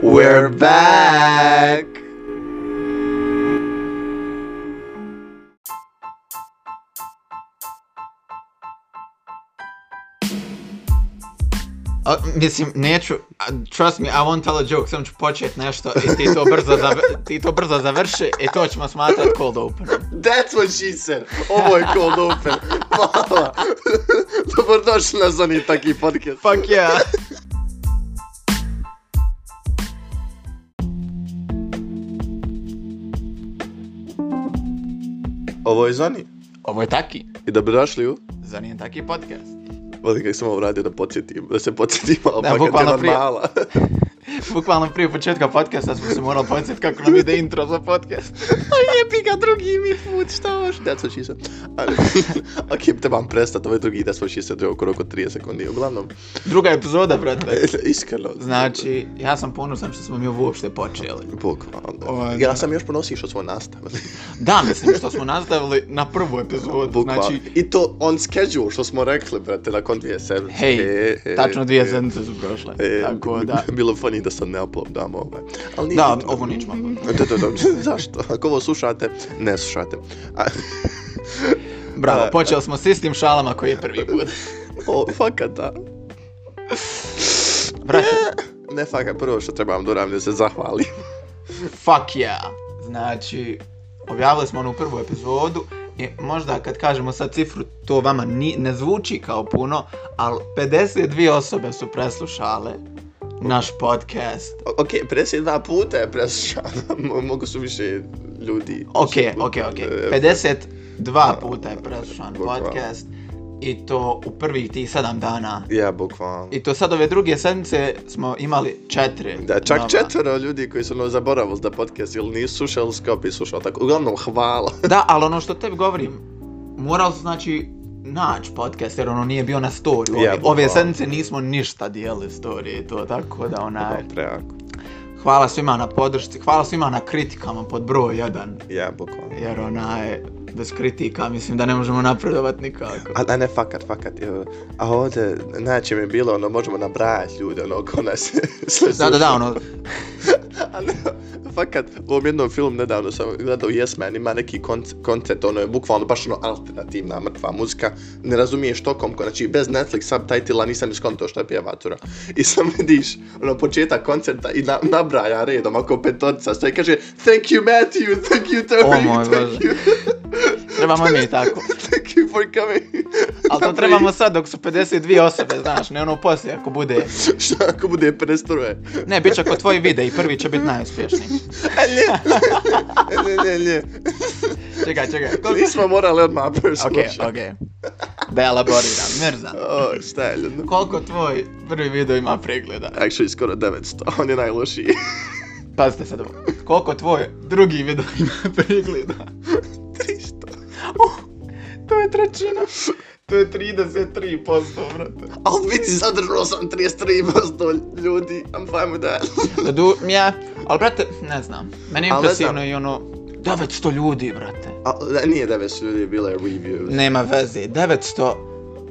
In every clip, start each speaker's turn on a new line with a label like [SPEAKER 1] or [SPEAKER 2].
[SPEAKER 1] We're back! A, mislim, neću, a, trust me, I won't tell a joke, sam ću počet nešto i ti to brzo, zav- ti to brzo završi i to ćemo smatrat cold open.
[SPEAKER 2] That's what she said. Ovo je cold open. Hvala. Dobrodošli na Zoni taki podcast. Pa-
[SPEAKER 1] Fuck yeah!
[SPEAKER 2] Ovo je Zoni.
[SPEAKER 1] Ovo je taki.
[SPEAKER 2] I dobrodošli u...
[SPEAKER 1] Zar nije taki podcast?
[SPEAKER 2] Vodi kako sam ovo radio da podsjetim, da se podsjetim, ali
[SPEAKER 1] Da,
[SPEAKER 2] pa kad je
[SPEAKER 1] bukvalno prije.
[SPEAKER 2] normala.
[SPEAKER 1] Bukvalno prije početka podcasta smo se morali podsjetiti kako nam ide intro za podcast.
[SPEAKER 2] A jebi ga drugi mi put, šta još? That's what she said. Ali, ok, trebam prestat, ovo je drugi That's what she said, oko oko 30 sekundi. Uglavnom,
[SPEAKER 1] Druga epizoda, brate.
[SPEAKER 2] iskreno.
[SPEAKER 1] Znači, ja sam ponosan što smo mi ovo uopšte počeli.
[SPEAKER 2] Bukvalno.
[SPEAKER 1] Ovaj,
[SPEAKER 2] Ja sam još ponosio što smo nastavili.
[SPEAKER 1] Da, mislim što smo nastavili na prvu epizodu.
[SPEAKER 2] Bukvalno.
[SPEAKER 1] Znači,
[SPEAKER 2] I to on schedule što smo rekli, brate, nakon dvije sedmice.
[SPEAKER 1] hej,
[SPEAKER 2] E, e,
[SPEAKER 1] tačno dvije
[SPEAKER 2] e.
[SPEAKER 1] sedmice su prošle.
[SPEAKER 2] E,
[SPEAKER 1] Tako da,
[SPEAKER 2] Bilo funny da sad ne uploadamo ovaj. Ali nije
[SPEAKER 1] da,
[SPEAKER 2] bitno.
[SPEAKER 1] ovo nećemo.
[SPEAKER 2] Da, da, da, zašto? Ako ovo slušate, ne slušate. A,
[SPEAKER 1] Bravo,
[SPEAKER 2] Da.
[SPEAKER 1] počeli smo s istim šalama koji je prvi put.
[SPEAKER 2] o, fakat da.
[SPEAKER 1] Brate,
[SPEAKER 2] Ne fakat, prvo što trebam da uravnju se zahvalim.
[SPEAKER 1] fuck yeah. Znači, objavili smo onu prvu epizodu i možda kad kažemo sad cifru, to vama ni, ne zvuči kao puno, ali 52 osobe su preslušale naš podcast.
[SPEAKER 2] O- Ok, 52 puta je preslušano, Mo- mogu su više ljudi.
[SPEAKER 1] Ok,
[SPEAKER 2] više
[SPEAKER 1] ok,
[SPEAKER 2] puta,
[SPEAKER 1] ok.
[SPEAKER 2] e,
[SPEAKER 1] 52 puta je preslušan
[SPEAKER 2] Bukvalno.
[SPEAKER 1] podcast i to u prvih tih 7 dana.
[SPEAKER 2] Ja, bukvalno.
[SPEAKER 1] I to sad ove druge sedmice smo imali četiri.
[SPEAKER 2] Da, čak
[SPEAKER 1] nova.
[SPEAKER 2] četvero ljudi koji su ono zaboravili da podcast ili nisu slušali skopi slušao tako. Uglavnom, hvala.
[SPEAKER 1] Da, ali ono što tebi govorim, morao se znači naći podcast jer ono nije bio na story. Ove,
[SPEAKER 2] Ja,
[SPEAKER 1] yeah, ove
[SPEAKER 2] bukvalno.
[SPEAKER 1] sedmice nismo ništa dijeli story i to tako da onaj...
[SPEAKER 2] Prejako.
[SPEAKER 1] Hvala svima na podršci, hvala svima na kritikama pod broj 1.
[SPEAKER 2] Ja, bukvalno.
[SPEAKER 1] Jer onaj, bez kritika mislim da ne možemo napredovat nikako.
[SPEAKER 2] A, a ne, fakat, fakat. evo. A ovdje, znači mi je bilo, ono, možemo nabrajati ljude, ono, ko nas sve
[SPEAKER 1] Da, da, da,
[SPEAKER 2] sluša.
[SPEAKER 1] ono,
[SPEAKER 2] A ne, fakat, u ovom jednom filmu nedavno sam gledao Yes Man, ima neki konc- koncept, ono je bukvalno baš ono alternativna mrtva muzika, ne razumiješ tokom, ko- znači bez Netflix subtitla nisam iskonto što je pjevatura. I sam vidiš, ono, početak koncerta i na, nabraja redom, ako petorca, što je kaže, thank you Matthew, thank you Terry,
[SPEAKER 1] O moj
[SPEAKER 2] thank
[SPEAKER 1] Bože.
[SPEAKER 2] you,
[SPEAKER 1] trebamo i mi tako.
[SPEAKER 2] thank you for coming.
[SPEAKER 1] Ali to
[SPEAKER 2] Napravi-
[SPEAKER 1] trebamo sad dok su 52 osobe, znaš, ne ono poslije ako bude.
[SPEAKER 2] Šta ako bude 52?
[SPEAKER 1] Ne, bit će ako tvoji vide i prvi će biti najuspješniji.
[SPEAKER 2] A E, ne, ne, ne, ne,
[SPEAKER 1] Čekaj, čekaj,
[SPEAKER 2] ne.
[SPEAKER 1] koliko?
[SPEAKER 2] Nismo morali odmah prvo slušati.
[SPEAKER 1] Okej, okej. Da elaboriram, mrzam.
[SPEAKER 2] O, šta je ljudno?
[SPEAKER 1] Koliko tvoj prvi video ima pregleda?
[SPEAKER 2] Actually, skoro 900, on je najlošiji.
[SPEAKER 1] Pazite sad ovo. Koliko tvoj drugi video ima pregleda?
[SPEAKER 2] 300.
[SPEAKER 1] Uh, to je trećina. To je 33%, brate.
[SPEAKER 2] Ali vidi, zadržao sam 33% ljudi, I'm fine with that.
[SPEAKER 1] Da du, ja, ali brate, ne znam. Meni je
[SPEAKER 2] Al ne znam.
[SPEAKER 1] impresivno i ono, 900 ljudi, brate.
[SPEAKER 2] Al, da, nije 900 ljudi, bilo je review.
[SPEAKER 1] Nema veze, 900.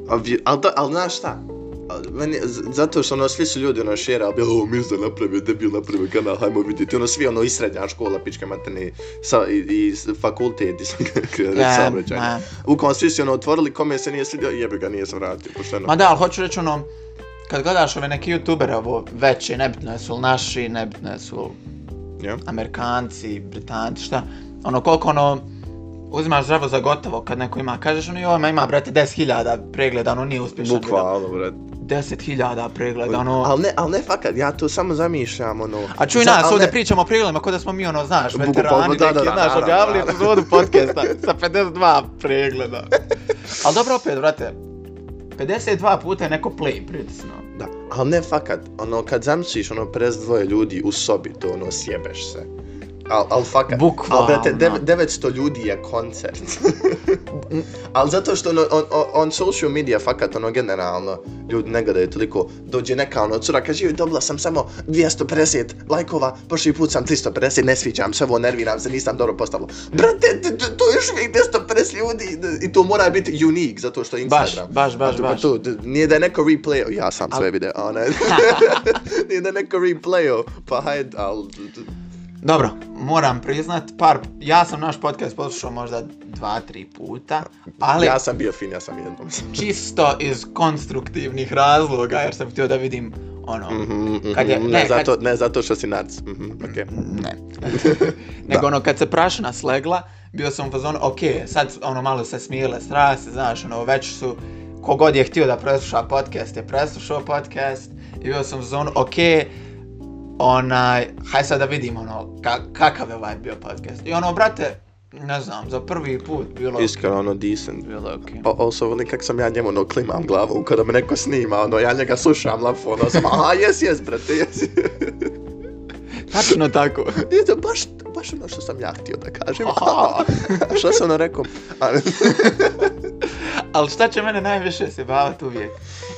[SPEAKER 2] Al, vi- al, da, al znaš šta? Al, Meni, z- zato što ono, svi su ljudi ono šera, bio, o, Mirza napravio, debil napravio kanal, hajmo vidjeti, ono svi ono i srednja škola, pičke materne, sa, i, i s- fakultet, i sam krenuo
[SPEAKER 1] Ne,
[SPEAKER 2] saobraćaj.
[SPEAKER 1] ne.
[SPEAKER 2] Ukon, svi su ono otvorili, kome se nije svidio, jebe ga, nije se vratio, pošteno.
[SPEAKER 1] Ma da, ali hoću reći ono, kad gledaš ove neke youtubere, ovo veće, nebitno jesu li naši, nebitno jesu li
[SPEAKER 2] Ja?
[SPEAKER 1] Amerikanci, Britanci, šta, ono koliko ono, uzimaš zdravo za gotovo kad neko ima, kažeš ono joj, ma ima brate 10.000 pregleda, ono nije uspješan video.
[SPEAKER 2] Bukvalno, brate.
[SPEAKER 1] 10.000 pregleda, ono,
[SPEAKER 2] Al ne, al ne fakat, ja to samo zamišljam, ono...
[SPEAKER 1] a čuj
[SPEAKER 2] Za-
[SPEAKER 1] nas,
[SPEAKER 2] al
[SPEAKER 1] ovdje
[SPEAKER 2] ne-
[SPEAKER 1] pričamo o pregledima kod da smo mi ono, znaš,
[SPEAKER 2] Bukvalno,
[SPEAKER 1] veterani,
[SPEAKER 2] da, da,
[SPEAKER 1] neki,
[SPEAKER 2] da,
[SPEAKER 1] znaš,
[SPEAKER 2] naravno,
[SPEAKER 1] objavili
[SPEAKER 2] naravno.
[SPEAKER 1] epizodu podcasta sa 52 pregleda. Ali dobro, opet, brate, 52 puta je neko play pritisnuo.
[SPEAKER 2] Da, ali ne fakat, ono, kad zamisliš ono prez dvoje ljudi u sobi, to ono, sjebeš se. Al, al fakat.
[SPEAKER 1] Bukvalno.
[SPEAKER 2] Al, brate, dev, 900 ljudi je koncert. Ali zato što ono, on, on, on social media fakat ono generalno ljudi ne gledaju toliko dođe neka ono cura kaže joj dobila sam samo 250 lajkova prošli put sam 350 ne sviđam se ovo nerviram se nisam dobro postavila brate t- t- to je još uvijek 250 ljudi d- i to mora biti unique zato što je
[SPEAKER 1] Baš,
[SPEAKER 2] Instagram
[SPEAKER 1] baš, baš,
[SPEAKER 2] Pa
[SPEAKER 1] baš.
[SPEAKER 2] To, d- nije da je neko replayo, ja sam sve video, a ne. nije da je neko replayo, pa hajde, ali... d- d-
[SPEAKER 1] Dobro, moram priznat, par, ja sam naš podcast poslušao možda dva, tri puta, ali
[SPEAKER 2] Ja sam bio fin, ja sam jednom.
[SPEAKER 1] čisto iz konstruktivnih razloga, jer sam htio da vidim ono,
[SPEAKER 2] Mhm, mhm,
[SPEAKER 1] Kad je-
[SPEAKER 2] ne,
[SPEAKER 1] ne, kad-
[SPEAKER 2] zato, ne zato što si nac. Mhm, okej.
[SPEAKER 1] ne. Nego ono, kad se prašina slegla, bio sam u fazonu, ok, sad ono malo se smijele strasti, znaš, ono, već su, kogod je htio da presluša podcast, je preslušao podcast, i bio sam u fazonu, ok, onaj, haj sad da vidimo, ono, ka, kakav je ovaj bio podcast. I ono, brate, ne znam, za prvi put bilo...
[SPEAKER 2] Iskreno, ono, decent.
[SPEAKER 1] Bilo je okej.
[SPEAKER 2] Pa also, volim kak sam ja njemu, ono, klimam glavu kada me neko snima, ono, ja njega slušam lafu, ono, sam, aha, jes, jes, brate, jes.
[SPEAKER 1] Tačno tako.
[SPEAKER 2] I to baš, baš ono što sam ja htio da kažem.
[SPEAKER 1] Aha.
[SPEAKER 2] Šta sam ono rekao? Ali,
[SPEAKER 1] Ali šta će mene najviše se bavati uvijek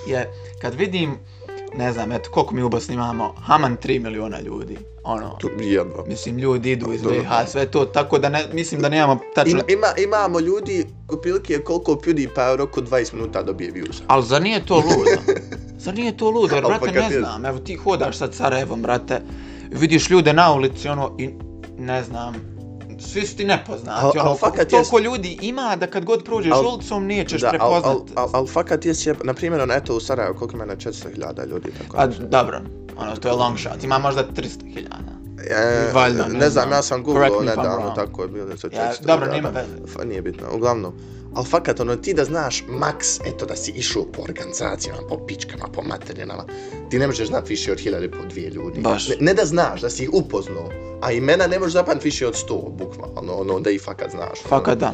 [SPEAKER 1] je kad vidim, ne znam, eto, koliko mi u Bosni imamo, Haman 3 miliona ljudi, ono,
[SPEAKER 2] jedno.
[SPEAKER 1] mislim, ljudi idu iz
[SPEAKER 2] Dobro.
[SPEAKER 1] BiH, sve to, tako da ne, mislim da nemamo tačno...
[SPEAKER 2] Ima, ima, imamo ljudi, otprilike koliko PewDiePie u roku 20 minuta dobije views.
[SPEAKER 1] Ali zar nije to ludo? Zar nije to ludo? Jer,
[SPEAKER 2] Al
[SPEAKER 1] brate,
[SPEAKER 2] pa
[SPEAKER 1] ne
[SPEAKER 2] kad je-
[SPEAKER 1] znam, evo ti hodaš sad Sarajevom, brate, vidiš ljude na ulici, ono, i ne znam, svi su ti nepoznati,
[SPEAKER 2] Al-
[SPEAKER 1] ono,
[SPEAKER 2] al fakat
[SPEAKER 1] toliko ljudi ima da kad god prođeš
[SPEAKER 2] Al-
[SPEAKER 1] ulicom nećeš
[SPEAKER 2] Da, al, al,
[SPEAKER 1] prepoznat.
[SPEAKER 2] al, al fakat je sjeb, na primjer, ono, eto u Sarajevo, koliko ima na 400.000 ljudi, tako
[SPEAKER 1] A,
[SPEAKER 2] nešto.
[SPEAKER 1] dobro, ono, to je long shot, ima možda 300.000.
[SPEAKER 2] E,
[SPEAKER 1] Valjda,
[SPEAKER 2] ne,
[SPEAKER 1] ne
[SPEAKER 2] znam,
[SPEAKER 1] znam.
[SPEAKER 2] ja sam
[SPEAKER 1] Correct
[SPEAKER 2] googlao
[SPEAKER 1] me if I'm
[SPEAKER 2] nedavno,
[SPEAKER 1] wrong.
[SPEAKER 2] tako je bilo nešto
[SPEAKER 1] Ja,
[SPEAKER 2] 400
[SPEAKER 1] dobro,
[SPEAKER 2] hiljada.
[SPEAKER 1] nema veze.
[SPEAKER 2] Fa, nije bitno, uglavnom. Ali fakat, ono, ti da znaš maks, eto da si išao po organizacijama, po pičkama, po materinama, ti ne možeš znat više od hiljade po dvije ljudi.
[SPEAKER 1] Baš.
[SPEAKER 2] Ne, ne da znaš, da si ih upoznao, a imena ne možeš zapamtit više od 100, bukvalno, ono, da ih fakat znaš. ono.
[SPEAKER 1] Fakat da.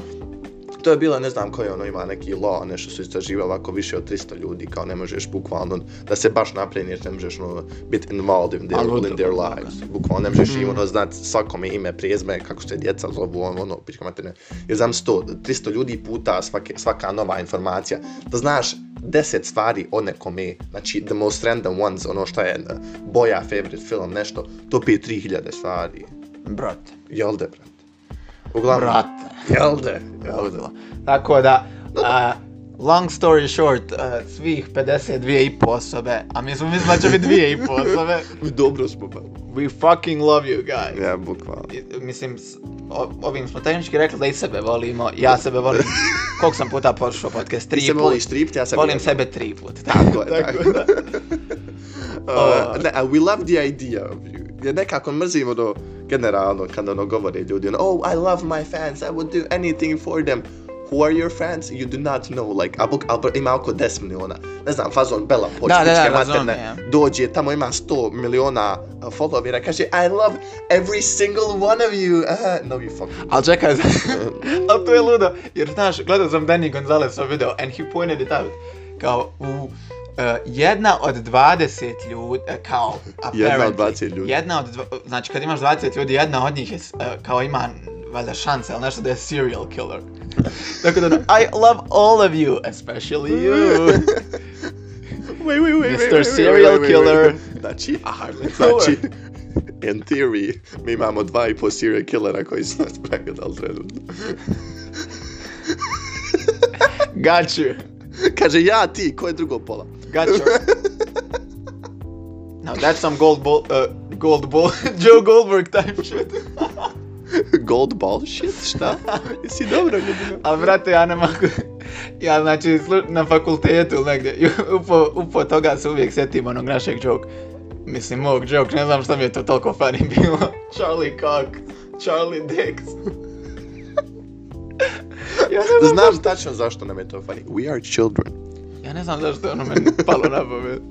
[SPEAKER 2] To je bila, ne znam koji ono ima neki law, nešto su istraživali ovako više od 300 ljudi, kao ne možeš bukvalno da se baš naprijeniš, ne možeš ono, biti involved in
[SPEAKER 1] Ali
[SPEAKER 2] their,
[SPEAKER 1] ludo,
[SPEAKER 2] in their
[SPEAKER 1] ludo,
[SPEAKER 2] lives. Bukvalno ne možeš
[SPEAKER 1] Mhm.
[SPEAKER 2] mm. ono znat svakome ime, prijezme, kako se djeca zovu, ono, ono pička materne. Jer znam 100, 300 ljudi puta svake, svaka nova informacija, da znaš 10 stvari o nekome, znači the most random ones, ono šta je eh, boja, favorite film, nešto, to pije 3000 stvari.
[SPEAKER 1] Brate.
[SPEAKER 2] Jel de, brate? Uglavnom,
[SPEAKER 1] Brate.
[SPEAKER 2] jel de, jel de.
[SPEAKER 1] Tako da, a, long story short, a, svih 52 i po osobe, a mi smo mislili da će biti dvije i po osobe,
[SPEAKER 2] Dobro smo, pa.
[SPEAKER 1] we fucking love you guys.
[SPEAKER 2] Ja, bukvalno.
[SPEAKER 1] I- Mislim, s- o- ovim smo tehnički rekli da i sebe volimo, ja sebe volim, koliko sam puta poslušao podcast,
[SPEAKER 2] Ti
[SPEAKER 1] tri
[SPEAKER 2] se
[SPEAKER 1] put,
[SPEAKER 2] voliš stript, ja sam...
[SPEAKER 1] volim sebe tri put,
[SPEAKER 2] Tako je, tako
[SPEAKER 1] tako da.
[SPEAKER 2] Uh, ne, a we love the idea of you. Ja nekako mrzim ono, generalno, kada ono govore ljudi, ono, oh, I love my fans, I would do anything for them. Who are your fans? You do not know, like, a book Albert ima oko 10 miliona. Ne znam, fazon Bella Poč,
[SPEAKER 1] Da, da, da,
[SPEAKER 2] pičke
[SPEAKER 1] razumijem.
[SPEAKER 2] materne, dođe, tamo ima 100 miliona uh, followera, kaže, I love every single one of you. Uh, no, you fucking...
[SPEAKER 1] Ali čekaj, ali to je ludo, jer znaš, gledao sam Danny Gonzalesov video and he pointed it out, kao u uh, jedna od 20 ljudi, eh, kao,
[SPEAKER 2] Jedna od
[SPEAKER 1] apparently,
[SPEAKER 2] 20 ljudi.
[SPEAKER 1] Jedna od, dva, znači kad imaš 20 ljudi, jedna od njih je, s- eh, kao ima, valjda šanse, ali nešto da je serial killer. Tako da, I love all of you, especially you.
[SPEAKER 2] Wait, wait, wait,
[SPEAKER 1] Mr.
[SPEAKER 2] wait, wait,
[SPEAKER 1] Serial
[SPEAKER 2] wait, wait,
[SPEAKER 1] Killer.
[SPEAKER 2] wait. Znači,
[SPEAKER 1] Harley
[SPEAKER 2] znači, in theory, mi imamo dva i po serial killera koji su nas pregledali trenutno.
[SPEAKER 1] Got you,
[SPEAKER 2] Kaže, ja, ti, ko je drugo pola?
[SPEAKER 1] got you. Now that's some gold ball, uh, gold ball, Joe Goldberg type shit.
[SPEAKER 2] Gold ball shit, šta? Jesi dobro ljudima?
[SPEAKER 1] A brate, ja ne mogu... Ja znači slu- na fakultetu ili negdje, i upo, upo toga se uvijek sjetim onog našeg joke. Mislim, mog joke, ne znam šta mi je to toliko funny bilo. Charlie Cock, Charlie Dix. ja, ne znam,
[SPEAKER 2] Znaš tačno zašto nam je to funny. We are children.
[SPEAKER 1] ja ne znam zašto je ono meni palo na pamet.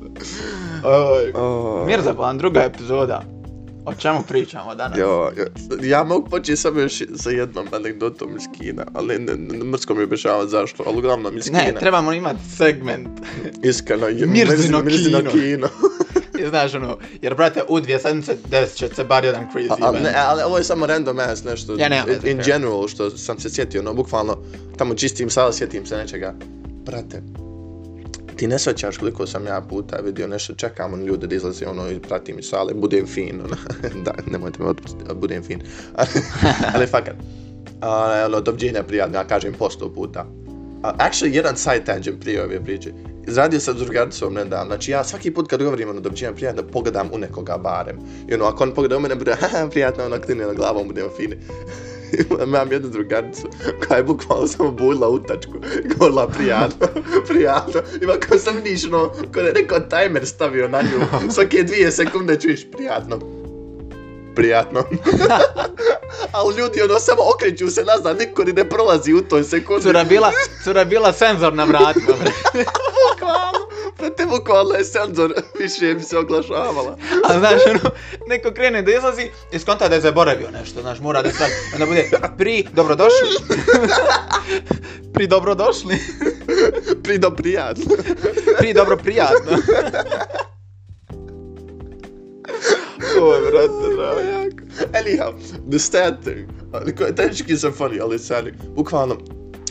[SPEAKER 1] Oj.
[SPEAKER 2] Oh.
[SPEAKER 1] Mirza, pa druga epizoda. O čemu pričamo danas?
[SPEAKER 2] Jo, jo, ja mogu početi samo još sa jednom anegdotom iz Kina, ali ne, ne, ne mrsko mi je objašnjavati zašto, ali uglavnom iz Kina.
[SPEAKER 1] Ne, trebamo imati segment.
[SPEAKER 2] Iskreno, je
[SPEAKER 1] Mirzino
[SPEAKER 2] Mirzino
[SPEAKER 1] kino.
[SPEAKER 2] kino.
[SPEAKER 1] znaš ono, jer brate, u dvije sedmice desit će se bar jedan crazy
[SPEAKER 2] A, a,
[SPEAKER 1] event.
[SPEAKER 2] ne, ali ovo je samo random ass nešto.
[SPEAKER 1] Ja nemam
[SPEAKER 2] in, in
[SPEAKER 1] veze.
[SPEAKER 2] general što sam se sjetio, no bukvalno tamo čistim sada sjetim se nečega. Brate, ti ne sjećaš koliko sam ja puta vidio nešto, čekam on ljude da izlaze ono i pratim iz sale, budem fin, ono, da, nemojte me otpustiti, ali budem fin. ali fakat, a, ono, doviđenja prijatno, ja kažem po sto puta. A, actually, jedan side tangent prije ove priče. Izradio sam s drugaricom nedavno, znači ja svaki put kad govorim ono doviđenja prijatno, pogledam u nekoga barem. I ono, ako on pogleda u mene, bude, haha, prijatno, ono, kline na glavom, budemo fini. Imam jednu drugaricu koja je bukvalno samo budila utačku, govorila prijatno, prijatno. Ima kao sam vidiš, ono, ko da je neko timer stavio na nju, svake dvije sekunde čuješ prijatno, prijatno. Ali ljudi ono samo okreću se nazad, niko ni ne prolazi u toj sekundi.
[SPEAKER 1] Cura bila, cura bila senzor na vratima, bre.
[SPEAKER 2] bukvalno, prate bukvalno je senzor, više mi se oglašavala.
[SPEAKER 1] A znaš, ono, neko krene da izlazi i skonta da je zaboravio nešto, znaš, mora da sad, onda bude pri dobrodošli. pri dobrodošli,
[SPEAKER 2] Prido prijatno.
[SPEAKER 1] pri dobro prijatno. Oj, brate,
[SPEAKER 2] Bravo,
[SPEAKER 1] dragi.
[SPEAKER 2] jako. Anyhow, the sad thing, ali ko- tehnički sam funny, ali sad, bukvalno,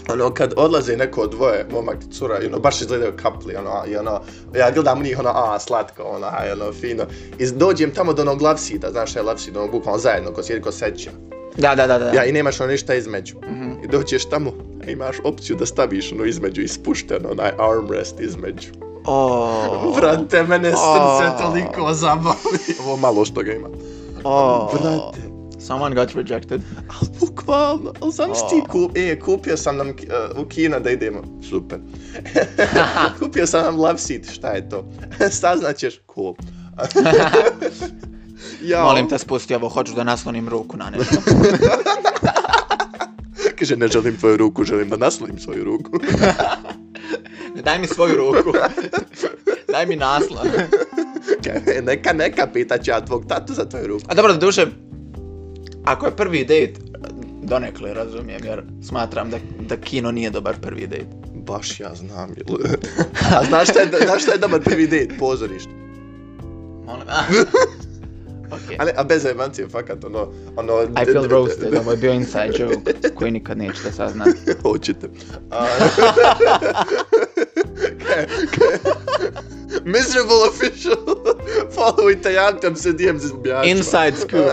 [SPEAKER 2] ono, kad odlaze neko dvoje, momak i cura, ono, baš izgledaju kapli, ono, a, i ono, ja gledam u njih, ono, a, slatko, ono, a, ono, fino, i dođem tamo do onog lavsida, znaš šta je lavsid, ono, bukvalno zajedno, ko sjedi, ko seća,
[SPEAKER 1] Da, da, da, da.
[SPEAKER 2] ja, i nemaš ono ništa između,
[SPEAKER 1] Mhm.
[SPEAKER 2] i dođeš tamo, a imaš opciju da staviš ono između, ispušteno, onaj armrest između.
[SPEAKER 1] O,
[SPEAKER 2] Brate, mene
[SPEAKER 1] A.
[SPEAKER 2] srce toliko zabavlja. Ovo malo što ga ima.
[SPEAKER 1] o,
[SPEAKER 2] Brate,
[SPEAKER 1] Someone got rejected.
[SPEAKER 2] ali bukvalno, ali sam
[SPEAKER 1] A.
[SPEAKER 2] ti kup, e, kupio sam nam uh, u Kina da idemo. Super. kupio sam nam love seat, šta je to? Saznaćeš, cool. ja,
[SPEAKER 1] Molim te spusti ovo, hoću da naslonim ruku na nešto.
[SPEAKER 2] Kaže, ne želim tvoju ruku, želim da naslonim svoju ruku.
[SPEAKER 1] Daj mi svoju ruku. Daj mi naslon.
[SPEAKER 2] Kaže, e, neka, neka, pitaću ja tvog tatu za tvoju ruku.
[SPEAKER 1] A dobro, duše, ako je prvi dejt, donekle razumijem, jer smatram da, da kino nije dobar prvi dejt.
[SPEAKER 2] Baš ja znam, jel? A znaš šta je, znaš šta je dobar prvi date? Pozorište.
[SPEAKER 1] Molim, a. Okej.
[SPEAKER 2] Ali, a bez jebancije, fakat, ono, ono...
[SPEAKER 1] I feel roasted, ovo je bio inside joke koji nikad nećete saznati.
[SPEAKER 2] Hoćete. A... Kaj- kaj- Miserable official. Followite Jantam se dijem se zbijačima.
[SPEAKER 1] Inside scoop.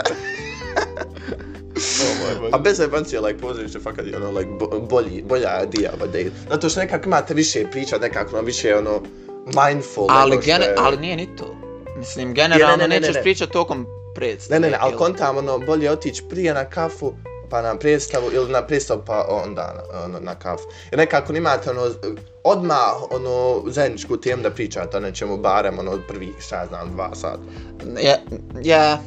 [SPEAKER 2] A bez jebancije, like, pozorište, fakat, je ono, like, bo- bolji, bolja dijava date. Zato što nekako imate više priča, nekako, ono, više, ono, mindful.
[SPEAKER 1] ali,
[SPEAKER 2] nego što je-
[SPEAKER 1] gene, ali nije ni to. Mislim, generalno
[SPEAKER 2] ne, ne, ne,
[SPEAKER 1] nećeš
[SPEAKER 2] ne.
[SPEAKER 1] pričat tokom predstave.
[SPEAKER 2] Ne, ne, ne, ali
[SPEAKER 1] jel?
[SPEAKER 2] kontam, ono, bolje otići prije na kafu, pa na predstavu, ili na predstavu, pa onda na, ono, na kafu. Jer nekako imate, ono, odmah, ono, zajedničku temu da pričate o nečemu, barem, ono, od prvih, šta ja znam, dva sata.
[SPEAKER 1] Ja, ja,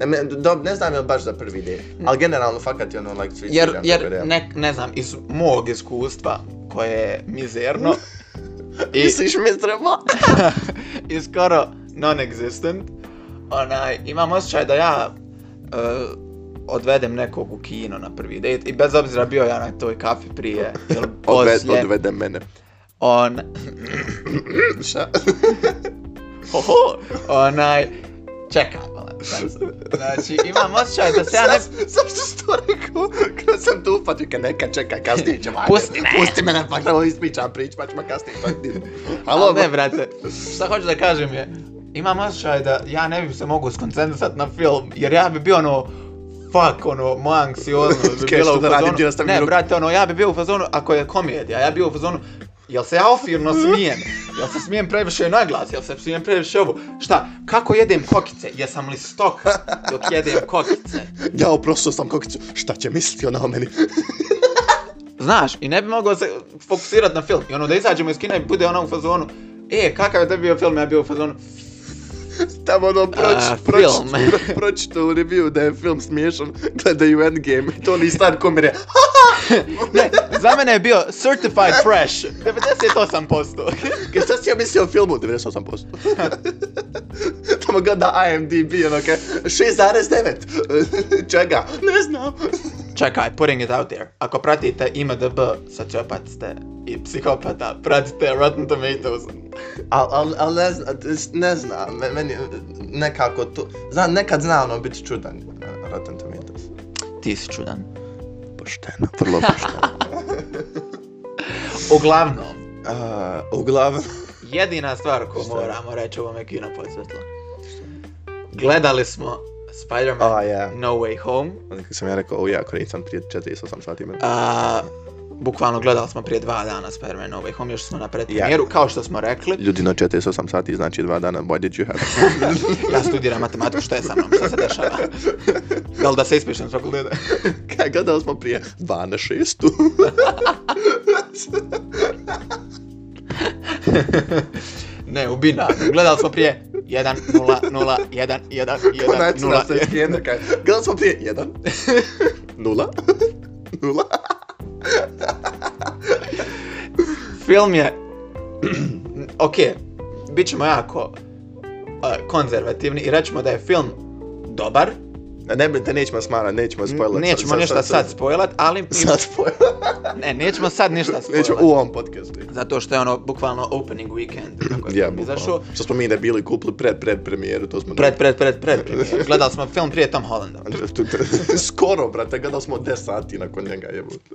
[SPEAKER 2] Ne, me, do, ne znam je baš za prvi del, ali generalno, fakat je, ono, like, svi
[SPEAKER 1] Mm. jer, jer ne, ne znam, iz mog iskustva, koje je mizerno, i,
[SPEAKER 2] Misliš mi treba?
[SPEAKER 1] i skoro non-existent, onaj, imam osjećaj da ja uh, odvedem nekog u kino na prvi dejt i bez obzira bio ja na toj kafi prije ili poslije,
[SPEAKER 2] odvede mene.
[SPEAKER 1] on,
[SPEAKER 2] Šta?
[SPEAKER 1] hoho, onaj, čekam, malo, sad sam. znači imam osjećaj da se ja ne,
[SPEAKER 2] Sad- Zašto si to rekao? Kad sam tu upatio, kad neka čeka, kasnije će vanje.
[SPEAKER 1] Pusti me.
[SPEAKER 2] Pusti me da pa ovo ispričam prič, pa ćemo kasnije. Pa,
[SPEAKER 1] Alo,
[SPEAKER 2] Halo,
[SPEAKER 1] ne, brate, šta hoću da kažem je, imam osjećaj da ja ne bi se mogu skoncentrisat na film, jer ja bi bio ono, fuck, ono, moja anksioznost bi
[SPEAKER 2] Kaj,
[SPEAKER 1] bila
[SPEAKER 2] što
[SPEAKER 1] u
[SPEAKER 2] da radim,
[SPEAKER 1] fazonu,
[SPEAKER 2] ti da stavim
[SPEAKER 1] ne,
[SPEAKER 2] ruku?
[SPEAKER 1] brate, ono, ja bi bio u fazonu, ako je komedija, ja bi bio u fazonu, jel se ja ofirno smijem, jel se smijem previše naglas, jel se smijem previše ovo, šta, kako jedem kokice, jesam li stok dok jedem kokice,
[SPEAKER 2] Ja oprostio sam kokicu, šta će misliti ona o meni?
[SPEAKER 1] Znaš, i ne bi mogao se fokusirat na film. I ono da izađemo iz kina i bude ona u fazonu, e, kakav je to bio film, ja bio u fazonu,
[SPEAKER 2] Tamo ono, proč,
[SPEAKER 1] A,
[SPEAKER 2] proč,
[SPEAKER 1] film.
[SPEAKER 2] pro- pročito u review da je film smiješan, gledaju Endgame, to ni star komire.
[SPEAKER 1] Ne, za mene je bio certified fresh, 98%.
[SPEAKER 2] Kaj šta si ja mislio o filmu? 98%. Tamo gleda IMDb, ono kaj, 6.9. Čega? Ne znam.
[SPEAKER 1] Čekaj, putting it out there. Ako pratite IMDB, sociopat ste i psihopata, pratite Rotten Tomatoes.
[SPEAKER 2] Al, al, al ne, zna, ne znam, me- meni nekako to... Znam, nekad zna ono biti čudan eh, Rotten Tomatoes.
[SPEAKER 1] Ti si čudan.
[SPEAKER 2] Pošteno, vrlo pošteno.
[SPEAKER 1] Uglavnom,
[SPEAKER 2] uh, uglavnom...
[SPEAKER 1] jedina stvar koju
[SPEAKER 2] Šta?
[SPEAKER 1] moramo reći u ovome kino podsvetlo. Gledali smo Spider-Man
[SPEAKER 2] A, ja.
[SPEAKER 1] No Way Home.
[SPEAKER 2] Kako sam ja rekao, o ja, ako nisam prije 48 sati imena.
[SPEAKER 1] A, bukvalno gledali smo prije dva dana Spider-Man No Way Home, još smo na predpremijeru, kao što smo rekli.
[SPEAKER 2] Ljudi, no 48 sati znači dva dana, why did you have...
[SPEAKER 1] Ja studiram matematiku, šta je sa mnom, šta se dešava? Da li da se ispišem s fakulteta?
[SPEAKER 2] Kaj, gledali smo prije 2 na 6.
[SPEAKER 1] Ne, u binarnom. Gledali smo prije 1, 0, 0, 1, 1, 1,
[SPEAKER 2] Konačno
[SPEAKER 1] 0,
[SPEAKER 2] se skijena, kaj. Gledali smo prije 1, 0, 0.
[SPEAKER 1] Film je... ok, bit ćemo jako uh, konzervativni i rećemo da je film dobar.
[SPEAKER 2] Ne, ne, nećemo smarat, nećemo spojlat.
[SPEAKER 1] Nećemo ništa sad spojlat, ali...
[SPEAKER 2] Sad spojlat.
[SPEAKER 1] Ne, nećemo sad ništa
[SPEAKER 2] Nećemo
[SPEAKER 1] spojlat.
[SPEAKER 2] u ovom podcastu.
[SPEAKER 1] Zato što je ono bukvalno opening weekend kako je
[SPEAKER 2] Ja,
[SPEAKER 1] film izašao.
[SPEAKER 2] bukvalno. Što smo mi ne bili kupili pred, pred premijeru, to smo...
[SPEAKER 1] Pred, pred, pred, pred premijeru. Gledali smo film prije Tom Hollanda.
[SPEAKER 2] Skoro, brate, gledali smo 10 sati nakon njega, jebote.